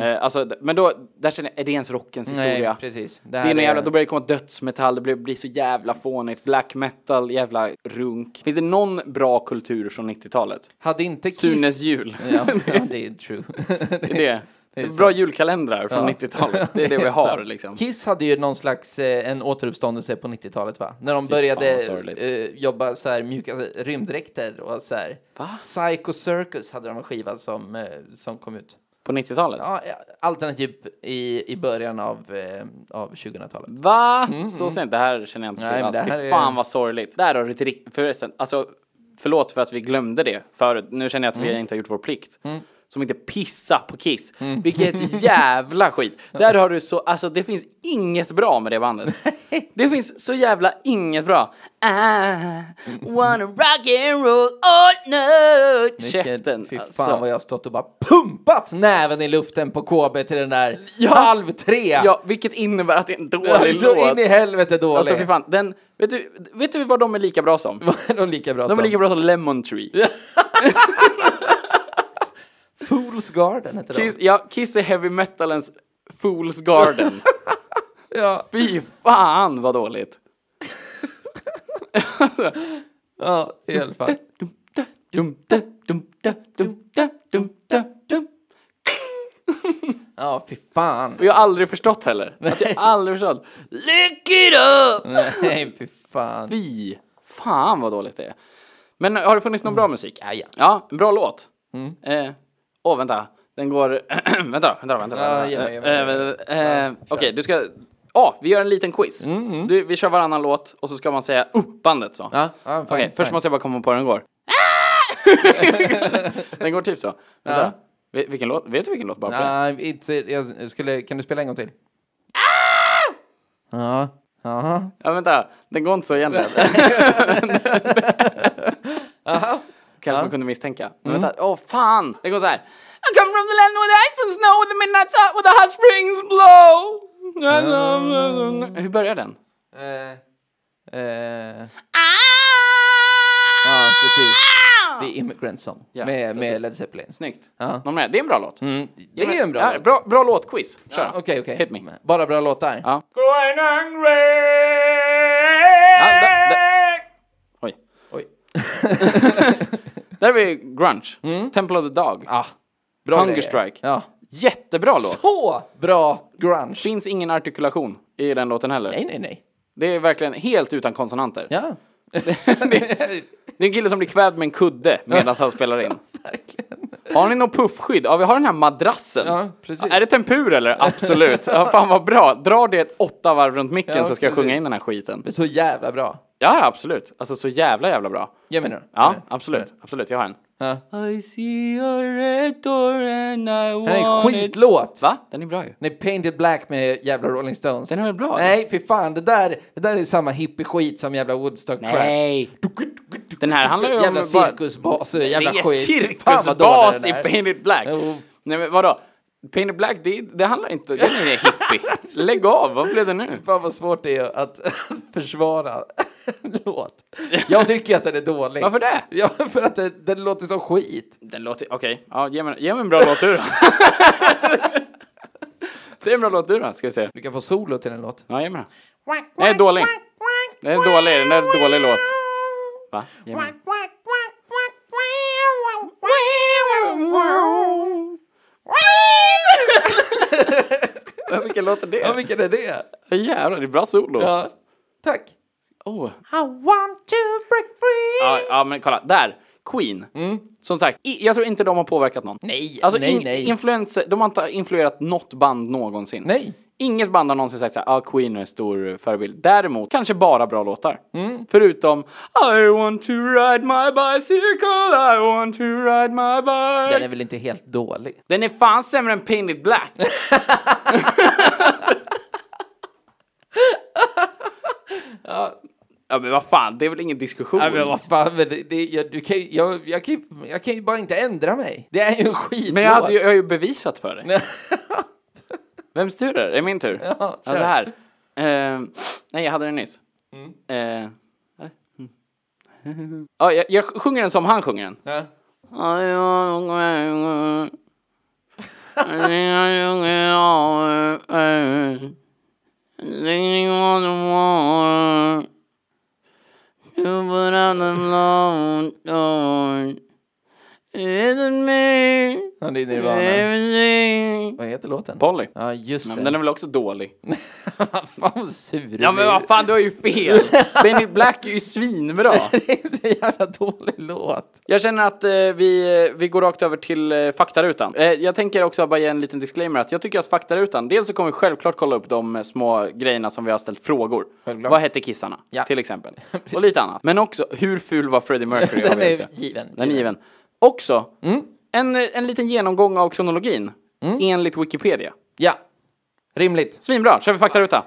S1: Eh, alltså, d- men då, där känner jag, är det ens rockens historia?
S2: Nej, precis.
S1: Det är någon jävla, då börjar det komma dödsmetall, det blir, blir så jävla fånigt, black metal, jävla runk. Finns det någon bra kultur från 90-talet?
S2: Hade inte Kiss...
S1: Sunes [LAUGHS] jul.
S2: [LAUGHS] Ja, ja, det är true.
S1: Det är det. Bra julkalendrar från 90-talet, det är [LAUGHS] det vi har liksom.
S2: Kiss hade ju någon slags eh, en återuppståndelse på 90-talet va? När de började
S1: vad sorgligt.
S2: eh, jobba så här mjuka alltså, rymddräkter och så här. Psycho Circus hade de en skiva som, eh, som kom ut.
S1: På 90-talet?
S2: Ja, eh, alternativ i, i början av, eh, av 2000-talet.
S1: Va? så sent? Det här känner jag inte
S2: Mm. Nej,
S1: till
S2: men
S1: alls.
S2: det här
S1: Fy
S2: är-
S1: fan vad sorgligt. Där har du ett riktigt... Förresten, alltså förlåt för att vi glömde det förut. Nu känner jag att
S2: Mm.
S1: vi inte har gjort vår plikt. Som inte pissa på Kiss.
S2: Mm. [LAUGHS]
S1: Vilket jävla skit. Där har du så, alltså det finns inget bra med det bandet. Det finns så jävla inget bra. I wanna rock and roll all night. Käften.
S2: Fy fan
S1: alltså.
S2: vad jag har stått och bara pumpat näven i luften på KB till den där
S1: Ja.
S2: halv tre.
S1: Ja, vilket innebär att det är en dålig
S2: Så
S1: låt.
S2: in i helvete dålig.
S1: Alltså fy fan, den, vet, du, vet du vad de är lika bra som?
S2: [LAUGHS] de är lika bra
S1: De är
S2: som
S1: lika bra som Lemon Tree.
S2: Fools Garden heter
S1: Kiss, ja, Kiss är heavy metalens Fool's Garden.
S2: de. Ja.
S1: Fy fan vad dåligt.
S2: ja, i alla fall. Ja, fy fan.
S1: Och jag har aldrig förstått heller. Alltså jag har aldrig förstått. Lick it up!
S2: Nej, fy fan.
S1: Fy fan vad dåligt det är. Men har det funnits någon bra musik? Ja, ja. en bra låt. Eh, åh, vänta. Den går... [CLEARS THROAT] vänta då, vänta då, vänta då.
S2: Ja,
S1: vänta då.
S2: ge mig, ge
S1: Eh,
S2: mig, ge
S1: eh, eh, Okej, du ska... Ja, vi gör en liten quiz. Du, vi kör varannan låt och så ska man säga oh, bandet så.
S2: Ja, ja, fine,
S1: Okej, först
S2: fine.
S1: måste jag bara komma på hur den går.
S2: Ah!
S1: [LAUGHS] den går typ så. Vänta. Vi- Vilken låt? Vet du vilken låt bara på den?
S2: Nej, inte, jag skulle, kan du spela en gång till?
S1: Ah!
S2: Ja. Jaha.
S1: [LAUGHS] Ja, vänta. Den går inte så egentligen. Kanske man kunde misstänka. Men
S2: Mm.
S1: vänta, åh fan! Det går så här. I come from the land where the ice and snow, where the midnight sun, where the hot springs blow. Hur börjar den?
S2: Eh, eh, ja, precis. Det är Immigrant Song
S1: Ah! Ja,
S2: med, med
S1: precis.
S2: Led Zeppelin.
S1: Snyggt.
S2: Ja. Mm.
S1: Någon mer? Det är en bra låt.
S2: Det är ju en bra
S1: Ja,
S2: låt.
S1: bra, bra låtquiz. Kör.
S2: Ja, Okej, okej.
S1: Hit me.
S2: Bara bra låtar.
S1: Ja. Ja, där,
S2: där-
S1: där. Oj.
S2: Oj.
S1: Där har vi grunge. Temple of the Dog.
S2: Mm. Bra
S1: Ah, Hunger
S2: grejer.
S1: Strike.
S2: Ja.
S1: Jättebra låt.
S2: Så bra grunge.
S1: Finns ingen artikulation i den låten heller.
S2: Nej, nej, nej.
S1: Det är verkligen helt utan konsonanter.
S2: Ja,
S1: Det är en kille som blir kvävd med en kudde medan han spelar
S2: [LAUGHS]
S1: in.
S2: verkligen.
S1: Har ni någon puffskydd? Ja, vi har den här madrassen.
S2: Ja, precis.
S1: Är det tempur eller? Absolut. Ja, fan vad bra. Dra det åtta varv runt micken
S2: Ja,
S1: så ska jag sjunga
S2: precis.
S1: in den här skiten.
S2: Så jävla bra.
S1: Ja, absolut. Alltså så jävla jävla bra.
S2: Ge mig nu.
S1: Ja, absolut. Absolut, jag har en.
S2: Ja.
S1: I see a red door and I want
S2: Den är en skitlåt.
S1: Va? Den är bra ju.
S2: Nej, Painted Black med jävla Rolling Stones.
S1: Den är väl bra?
S2: Nej, för fan. Det där, det där är samma hippie-skit som jävla woodstock
S1: Nej. Den här handlar ju om
S2: Jävla
S1: bara-
S2: cirkusbas och jävla
S1: det är
S2: skit. Fan, vad
S1: cirkusbas
S2: dålig den
S1: i
S2: är.
S1: Painted Black.
S2: Jo.
S1: Nej men vadå? Painted Black, det, det handlar inte om... Den är hippie.
S2: [LAUGHS]
S1: Lägg av, vad blev det nu?
S2: Fan vad svårt det är att [LAUGHS] försvara en låt. Jag tycker att den är dålig.
S1: Varför det?
S2: Ja, för att den, den låter som skit.
S1: Den låter... Okej, ja, ge, mig, ge mig en bra låt du
S2: [LAUGHS]
S1: då. Säg en bra låt du då, ska vi se.
S2: Du kan få solo till den låt.
S1: Ja, ge mig den. Den är dålig. Den är dålig, den är en dålig låt. Va? Ge mig den. Ja, Vilken låt är
S2: Ja,
S1: det?
S2: vilken är det?
S1: Jävlar, det är bra solo.
S2: Ja, tack.
S1: Oh.
S2: I want to break free.
S1: Ja, ja, men kolla. Där! Queen. Som sagt, i, jag tror inte de har påverkat någon.
S2: Mm. Nej,
S1: Alltså,
S2: nej,
S1: in,
S2: nej.
S1: influencer, de har inte influerat något band någonsin.
S2: Nej.
S1: Inget band har någonsin sagt såhär, ah, Queen är en stor förebild. Däremot, kanske bara bra låtar. Förutom I want to ride my bicycle, I want to ride my bike.
S2: Den är väl inte helt dålig?
S1: Den är fan sämre än Painted
S2: [LAUGHS]
S1: Black. ja men vad fan, det är väl ingen diskussion?
S2: Nej men vad fan, men det, det, jag, du kan, ju- jag, jag, kan, ju- jag kan ju bara inte ändra mig. Det är ju en skitlåt.
S1: Men jag, hade ju, jag har ju bevisat för
S2: [LAUGHS]
S1: dig. Vems tur är det? Är det min tur? Ja, alltså
S2: kör. Mm.
S1: här. Eh, nej, jag hade den nyss. Eh, eh, mm. ja, jag, jag sjunger den som han sjunger den.
S2: Ja. Ja, det är Nirvana. Vad heter låten?
S1: Polly.
S2: Ja, just det.
S1: Men den är väl också dålig?
S2: fan [LAUGHS] vad sur du
S1: Ja men
S2: blir.
S1: vad fan, du har ju fel! Benny Black är ju svinbra!
S2: [LAUGHS] Det är en så jävla dålig låt.
S1: Jag känner att eh, vi, vi går rakt över till eh, faktarutan. Eh, jag tänker också bara ge en liten disclaimer att jag tycker att faktarutan, dels så kommer vi självklart kolla upp de eh, små grejerna som vi har ställt frågor.
S2: Självklart.
S1: Vad hette kissarna?
S2: Ja.
S1: Till
S2: [LAUGHS]
S1: exempel. Och lite annat. Men också, hur ful var Freddie Mercury?
S2: Den
S1: har vi
S2: är
S1: också.
S2: given. Mm.
S1: Den är given. Också, en, eh, en liten genomgång av kronologin
S2: Mm.
S1: enligt Wikipedia.
S2: Ja. Rimligt.
S1: Svinbra, kör vi faktaruta.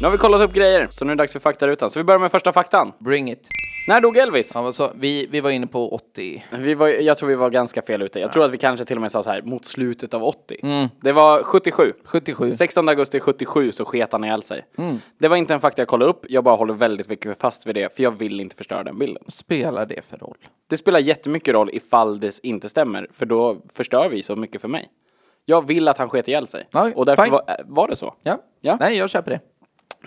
S1: Nu har vi kollat upp grejer, så nu är det dags för faktarutan. Så vi börjar med första faktan.
S2: Bring it.
S1: När dog Elvis?
S2: Ja, vad sa- vi, vi var inne på 80.
S1: Vi var, jag tror vi var ganska fel ute. Jag tror att vi kanske till och med sa så här mot slutet av 80. Det var 77.
S2: 77.
S1: 16 augusti 77 så sket han ihjäl sig. Det var inte en fakta jag kollade upp, jag bara håller väldigt mycket fast vid det, för jag vill inte förstöra den bilden.
S2: Spelar det för roll?
S1: Det spelar jättemycket roll ifall det inte stämmer, för då förstör vi så mycket för mig. Jag vill att han sket ihjäl sig.
S2: Ja,
S1: Och därför
S2: fine.
S1: var, äh, var det så.
S2: Ja.
S1: Ja.
S2: Nej, jag köper det.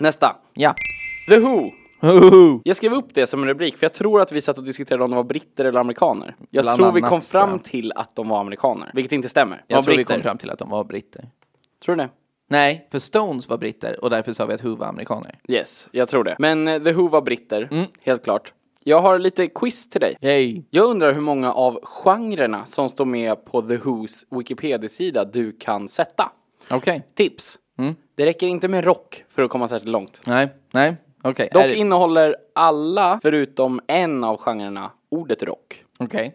S1: Nästa.
S2: Ja.
S1: The Who. Jag skrev upp det som en rubrik, för jag tror att vi satt och diskuterade om de var britter eller amerikaner. Jag
S2: Bland
S1: tror vi
S2: annat,
S1: kom
S2: tror
S1: fram
S2: jag.
S1: till att de var amerikaner, vilket inte stämmer. De var
S2: Jag tror
S1: britter.
S2: vi kom fram till att de var britter.
S1: Tror du det?
S2: Nej, för Stones var britter och därför sa vi att Who var amerikaner.
S1: Yes, jag tror det. Men eh, The Who var britter,
S2: Mm.
S1: helt klart. Jag har lite quiz till dig.
S2: Yay.
S1: Jag undrar hur många av genrerna som står med på The Whos Wikipedia-sida du kan sätta.
S2: Okej.
S1: Tips!
S2: Mm.
S1: Det räcker inte med rock för att komma särskilt långt.
S2: Nej, nej. Okej.
S1: Dock
S2: Är det-
S1: innehåller alla, förutom en av genrerna, ordet rock.
S2: Okej.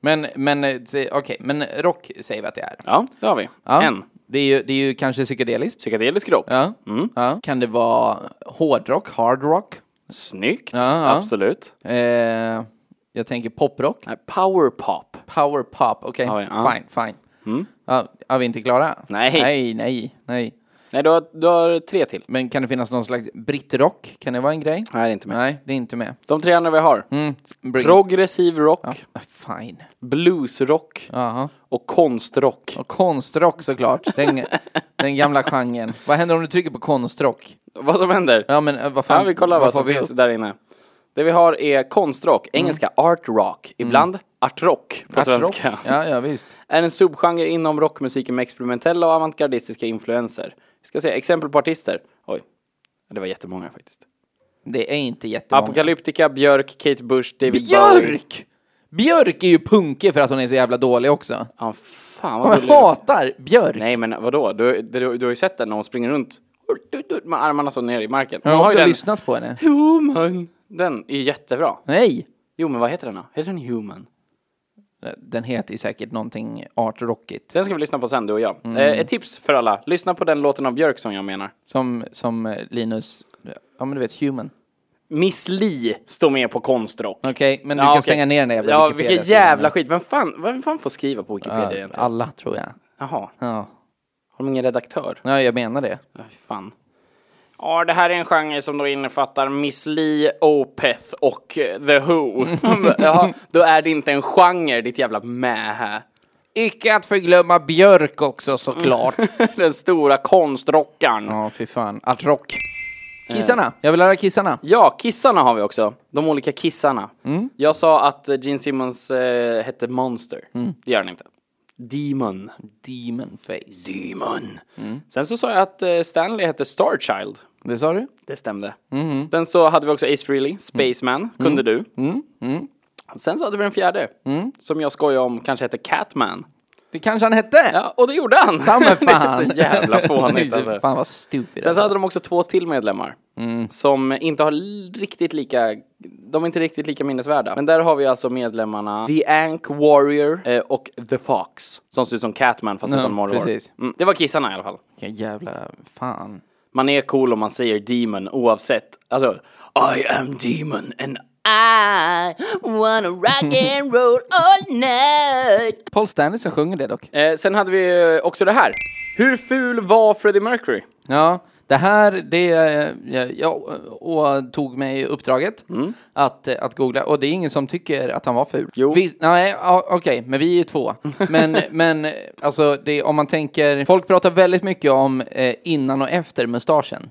S2: Men, men, eh, se- okej, men rock säger vi att det är.
S1: Ja, det har vi.
S2: Ja.
S1: En.
S2: Det är ju, det är ju kanske psykedeliskt.
S1: Psykedelisk rock.
S2: Ja.
S1: Mm.
S2: ja. Kan det vara hårdrock, hardrock?
S1: Snyggt,
S2: Ja, ja.
S1: absolut.
S2: Eh, jag tänker poprock,
S1: Nej, Power pop.
S2: power pop. Okej,
S1: Ja, ja. Mm.
S2: fine, fine. Ja, är vi inte klara?
S1: Nej.
S2: Nej, nej, nej.
S1: Nej, du har, du har tre till.
S2: Men kan det finnas någon slags brittrock? Kan det vara en grej?
S1: Nej, det är inte med.
S2: Nej, det är inte med.
S1: De tre andra vi har.
S2: Mm. bring it.
S1: Progressiv rock,
S2: Ah, Fine.
S1: bluesrock
S2: Jaha.
S1: och konstrock.
S2: Och konstrock såklart. Den, den gamla genren. Vad händer om du trycker på konstrock?
S1: Vad som händer?
S2: Ja, men eh, vad fan.
S1: Ja, vi kollar vad som
S2: får vi
S1: finns
S2: upp? Mm.
S1: där inne. Det vi har är konstrock, engelska art rock, ibland art rock på
S2: Artrock?
S1: svenska.
S2: Ja, ja, visst.
S1: Är en subgenre inom rockmusiken med experimentella och avantgardistiska influenser. Vi ska se exempel på artister. Oj, det var jättemånga faktiskt.
S2: Det är inte jättemånga.
S1: Apocalyptica, Björk, Kate Bush, David Bowie.
S2: Björk! Björk är ju punkig för att hon är så jävla dålig också.
S1: Ja, fan vad
S2: Jag
S1: gullig du är.
S2: hatar Björk.
S1: Nej men vadå, du, du, du har ju sett den när hon springer runt med armarna så ner i marken. Hon
S2: jag har
S1: har ju
S2: också
S1: den.
S2: lyssnat på henne.
S1: Human. Den är ju jättebra.
S2: Nej!
S1: Jo men vad heter den då? Heter den Human?
S2: Den heter ju säkert någonting artrockigt.
S1: Den ska vi lyssna på sen, du och
S2: Mm.
S1: jag. Eh, ett tips för alla, lyssna på den låten av Björk som jag menar.
S2: Som, som eh, Linus, ja men du vet, human.
S1: Miss Li står med på konstrock.
S2: Okej, men du
S1: Ja,
S2: kan
S1: okej.
S2: slänga ner den där jävla
S1: Ja,
S2: Wikipedia
S1: vilken
S2: sidan
S1: jävla
S2: nu.
S1: skit. Vem fan, vem fan får skriva på Wikipedia
S2: Ja,
S1: egentligen?
S2: alla tror jag.
S1: Jaha,
S2: Ja.
S1: har de ingen redaktör?
S2: ja, jag menar det.
S1: Ja, fy fan. Ja, det här är en genre som då innefattar Miss Li, Opeth och eh, The
S2: [LAUGHS]
S1: Who. [LAUGHS] Jaha, då är det inte en genre, ditt jävla mähä. [LAUGHS]
S2: Icke att förglömma Björk också såklart.
S1: [LAUGHS] Den stora konstrockaren. Ja.
S2: Ja, fy fan. Artrock.
S1: Eh.
S2: Kissarna. Jag vill lära kissarna.
S1: kissarna har vi också. De olika kissarna.
S2: Mm.
S1: Jag sa att eh, Gene Simmons eh, hette Monster.
S2: Mm.
S1: Det gör han inte. Demon.
S2: Demon face.
S1: Demon.
S2: Mm.
S1: Sen så sa jag att eh, Stanley hette Starchild.
S2: Det sa du?
S1: Det stämde.
S2: Mm-hmm.
S1: Sen så hade vi också Ace Frehley, Spaceman,
S2: Mm.
S1: kunde du. Sen så hade vi den fjärde,
S2: Mm.
S1: som jag skojar om kanske hette Catman.
S2: Det kanske han hette?
S1: Ja, och det gjorde han!
S2: Ta mig fan.
S1: [LAUGHS] det är så
S2: [LAUGHS]
S1: jävla fånigt
S2: Det är så-
S1: alltså.
S2: Fan Mm. vad stupid.
S1: Sen så
S2: alltså.
S1: hade de också två till medlemmar, som inte har l- riktigt lika, de är inte riktigt lika minnesvärda. Men där har vi alltså medlemmarna The Ank Warrior eh, och The Fox, som ser ut som Catman fast
S2: Ja,
S1: utan morrhår.
S2: precis.
S1: Mm, det var kissarna i alla fall.
S2: Vilken jävla fan.
S1: Man är cool om man säger demon oavsett. Alltså, I am demon and I wanna rock and roll all night.
S2: Paul Stanley som sjunger det dock.
S1: Eh, sen hade vi eh, också det här. Hur ful var Freddie Mercury?
S2: Ja, det här, det, eh, jag, jag och tog mig uppdraget att, eh, att googla och det är ingen som tycker att han var ful.
S1: Mm. Jo.
S2: Vi, nej, ja, okej, men vi är
S1: [LAUGHS]
S2: ju två. Men, men eh, alltså, det, om man tänker, folk pratar väldigt mycket om eh, innan och efter mustaschen.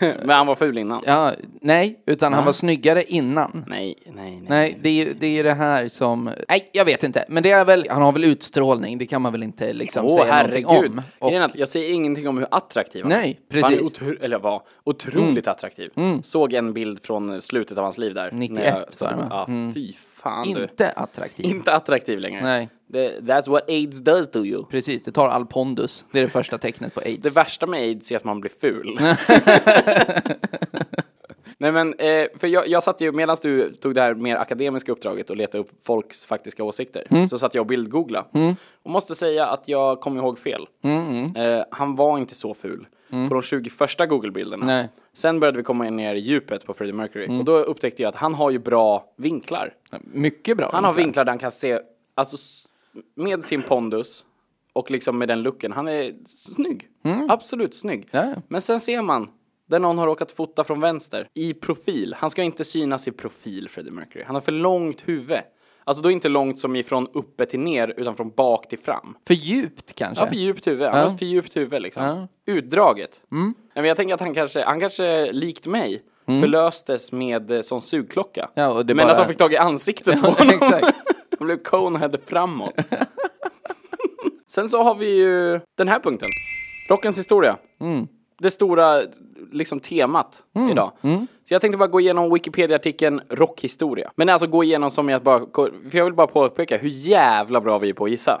S1: Men han var ful innan.
S2: Ja, nej, utan han var snyggare innan.
S1: Nej, nej, nej.
S2: Nej, det är ju det, är ju det här som... Nej, jag vet inte. Men det är väl, han har väl utstrålning, det kan man väl inte liksom
S1: Åh
S2: säga någonting
S1: herregud.
S2: om. Och,
S1: Grejen är att Jag säger ingenting om hur attraktiv han
S2: Nej,
S1: är. Han är
S2: precis.
S1: otro- eller var otroligt attraktiv. Såg en bild från slutet av hans liv där. när
S2: 91
S1: jag
S2: var
S1: satt och-
S2: det, va?
S1: Ja, fy fan du.
S2: inte attraktiv.
S1: Inte attraktiv längre.
S2: Nej.
S1: Det- that's what aids does to you.
S2: Precis, det tar all pondus. Det är
S1: [LAUGHS]
S2: det första tecknet på aids.
S1: Det värsta med aids är att man blir ful. Nej men, eh, för jag, jag satt ju, medan du tog det här mer akademiska uppdraget och letade upp folks faktiska åsikter, så satt jag och bildgooglade. Och måste säga att jag kom ihåg fel. Eh, han var inte så ful på de 20 första Google-bilderna.
S2: Nej.
S1: Sen började vi komma ner i djupet på Freddie Mercury, och då upptäckte jag att han har ju bra vinklar.
S2: Mycket bra.
S1: Han har vinklar där han kan se, alltså s- med sin pondus och liksom med den looken, han är snygg. Absolut snygg.
S2: Mm. Ja, ja.
S1: Men sen ser man där någon har råkat fota från vänster i profil. Han ska inte synas i profil, Freddie Mercury. Han har för långt huvud. Alltså då inte långt som ifrån uppe till ner, utan från bak till fram.
S2: För djupt kanske.
S1: Ja, för djupt huvud. Han har ett för djupt huvud liksom. Utdraget. Mm. Men jag tänker att han kanske, han kanske likt mig, förlöstes med eh, sån sugklocka.
S2: Mm. Ja, och det
S1: Men
S2: bara-
S1: att de fick tag i
S2: [LAUGHS]
S1: ansiktet på honom. [LAUGHS]
S2: Exakt.
S1: Han blev conehead framåt. [LAUGHS] Sen så har vi ju den här punkten. Rockens historia.
S2: Mm.
S1: Det stora liksom temat idag.
S2: Mm.
S1: Så jag tänkte bara gå igenom Wikipedia-artikeln rockhistoria. Men alltså gå igenom som jag bara, för jag vill bara påpeka hur jävla bra vi är på att gissa.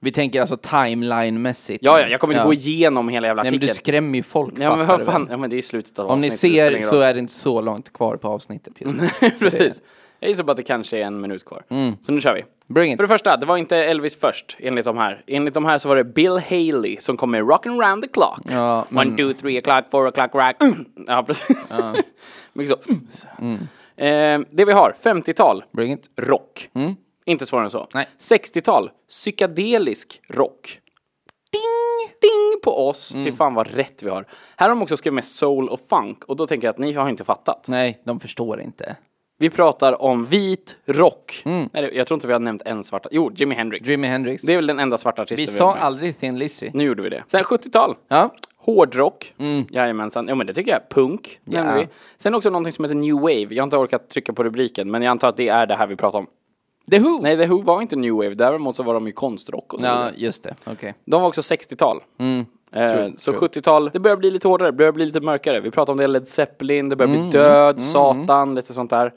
S2: Vi tänker alltså timeline-mässigt.
S1: Ja, ja, jag kommer inte gå igenom hela jävla
S2: Nej, men
S1: artikeln.
S2: du skrämmer ju folk.
S1: Ja men
S2: fattar
S1: vad
S2: du
S1: fan,
S2: väl?
S1: ja, men det är i slutet av
S2: Om ni
S1: avsnittet, det spelar
S2: ser
S1: ingen
S2: så
S1: roll.
S2: är det
S1: [LAUGHS]
S2: inte så långt kvar på avsnittet just nu. Så det-
S1: Precis. Jag gissar på att det kanske är en minut kvar. Så nu kör vi.
S2: Bring it.
S1: För det första, det var inte Elvis först, enligt de här. Enligt de här så var det Bill Haley som kom med Rockin' round the clock.
S2: Ja,
S1: One, two, three o'clock, four o'clock, rock. [CLEARS THROAT] Mm. Ja, precis. [LAUGHS] Mycket så.
S2: Mm.
S1: Eh, det vi har, 50-tal,
S2: Bring it.
S1: rock. Inte svårare än så.
S2: Mm. Nej.
S1: 60-tal, psykedelisk rock. Ding! Ding på oss.
S2: Mm.
S1: Fy fan vad rätt vi har. Här har de också skrivit med soul och funk och då tänker jag att ni har inte fattat.
S2: Nej, de förstår inte.
S1: Vi pratar om vit rock. Nej, det- jag tror inte vi har nämnt en svart. Jo, Jimi Hendrix.
S2: Mm. Jimi Hendrix.
S1: Det är väl den enda svarta artisten
S2: vi
S1: vi
S2: sa
S1: har med.
S2: aldrig Thin Lizzy.
S1: Nu gjorde vi det. Sen 70-tal.
S2: Ja. Mm.
S1: Hårdrock. Jajamensan. Jo men det tycker jag. Punk nämner vi. Sen också någonting som heter New Wave. Jag har inte orkat trycka på rubriken men jag antar att det är det här vi pratar om.
S2: The Who!
S1: Nej, The Who var inte New Wave. Däremot så var de ju konstrock och så vidare.
S2: Ja, just det. Okej.
S1: De var också 60-tal. Eh, så 70-tal, det börjar bli lite hårdare, det börjar bli lite mörkare. Vi pratar om det Led Zeppelin, det börjar bli död, Satan, lite sånt där.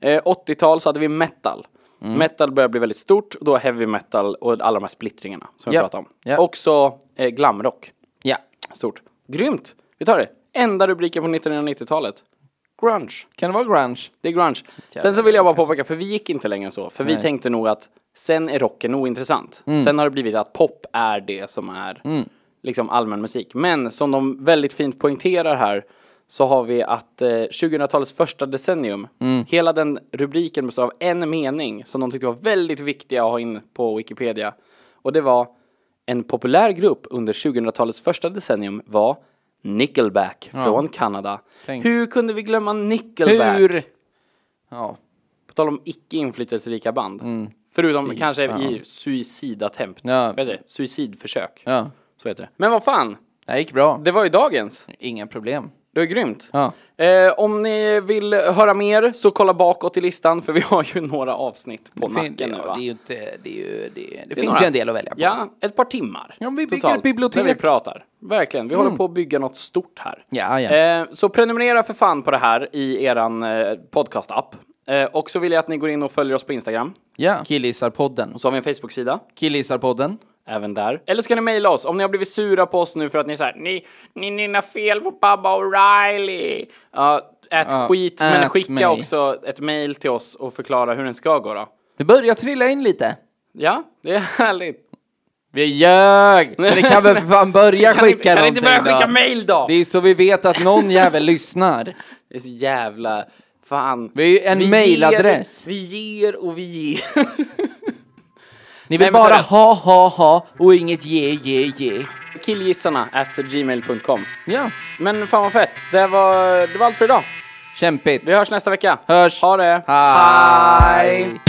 S1: Eh, 80-tal så hade vi metal. Metal börjar bli väldigt stort, och då heavy metal och alla de här splittringarna som vi
S2: Japp.
S1: pratar om.
S2: Japp.
S1: Också eh, glamrock,
S2: Ja.
S1: stort. Grymt! Vi tar det. Enda rubriken på 1990-talet. Grunge.
S2: Kan det vara grunge?
S1: Det är grunge. Sen så vill jag bara påpeka, för vi gick inte längre än så. För vi tänkte nog att sen är rocken ointressant.
S2: Mm.
S1: Sen har det blivit att pop är det som är liksom allmän musik. Men som de väldigt fint poängterar här så har vi att eh, 2000-talets första decennium,
S2: Mm.
S1: hela den rubriken består av en mening som de tyckte var väldigt viktig att ha in på Wikipedia. Och det var en populär grupp under 2000-talets första decennium var Nickelback från Kanada.
S2: Tänk.
S1: Hur kunde vi glömma Nickelback?
S2: Hur? Ja.
S1: På tal om icke inflytelserika band. Förutom kanske i suicidattempt.
S2: Mm. Ja.
S1: Vad heter det? Suicidförsök.
S2: Ja.
S1: Så heter det. Men vad fan,
S2: Det här gick bra.
S1: det var ju dagens.
S2: Inga problem.
S1: Det var grymt.
S2: Ja.
S1: Eh, om ni vill höra mer så kolla bakåt i listan för vi har ju [LAUGHS] några avsnitt på
S2: Fin-
S1: nacken nu
S2: ja,
S1: va?
S2: det är ju inte... Det, är ju, det, det,
S1: Det är
S2: finns
S1: några-
S2: ju en del att välja på.
S1: Ja, ett par timmar.
S2: Ja, men vi bygger
S1: totalt,
S2: ett bibliotek. Mm.
S1: När vi pratar. Verkligen, vi håller på att bygga något stort här.
S2: Ja, ja.
S1: Eh, så prenumerera för fan på det här i eran eh, podcast-app. Eh, och så vill jag att ni går in och följer oss på Instagram.
S2: ja. Killisarpodden.
S1: Och så har vi en Facebook-sida.
S2: Killisarpodden.
S1: även där. Eller så kan ni mejla oss om ni har blivit sura på oss nu för att ni säger ni, ni nynnar fel på Baba O'Reilly. Ja, ät skit, men
S2: ät
S1: skicka
S2: mig.
S1: också ett mejl till oss och förklara hur den ska gå då.
S2: Det börjar trilla in lite.
S1: Ja, det är [LAUGHS] härligt.
S2: Vi ljög! Men det kan väl för fan börja
S1: Kan ni,
S2: skicka
S1: kan ni inte
S2: någonting
S1: börja skicka
S2: då?
S1: mejl då?
S2: Det är så vi vet att någon jävel lyssnar.
S1: Det är så jävla... Fan.
S2: Vi är ju en mailadress.
S1: ger- Vi ger och vi ger. [LAUGHS]
S2: Ni vill
S1: men
S2: bara
S1: seriöst.
S2: ha, ha, ha och inget ge, ge, ge.
S1: Killgissarna at gmail.com.
S2: Ja,
S1: Men fan vad fett. Det var, det var allt för idag.
S2: kämpigt.
S1: Vi hörs nästa vecka.
S2: Hörs.
S1: Ha det.
S2: Hej.
S1: Hej.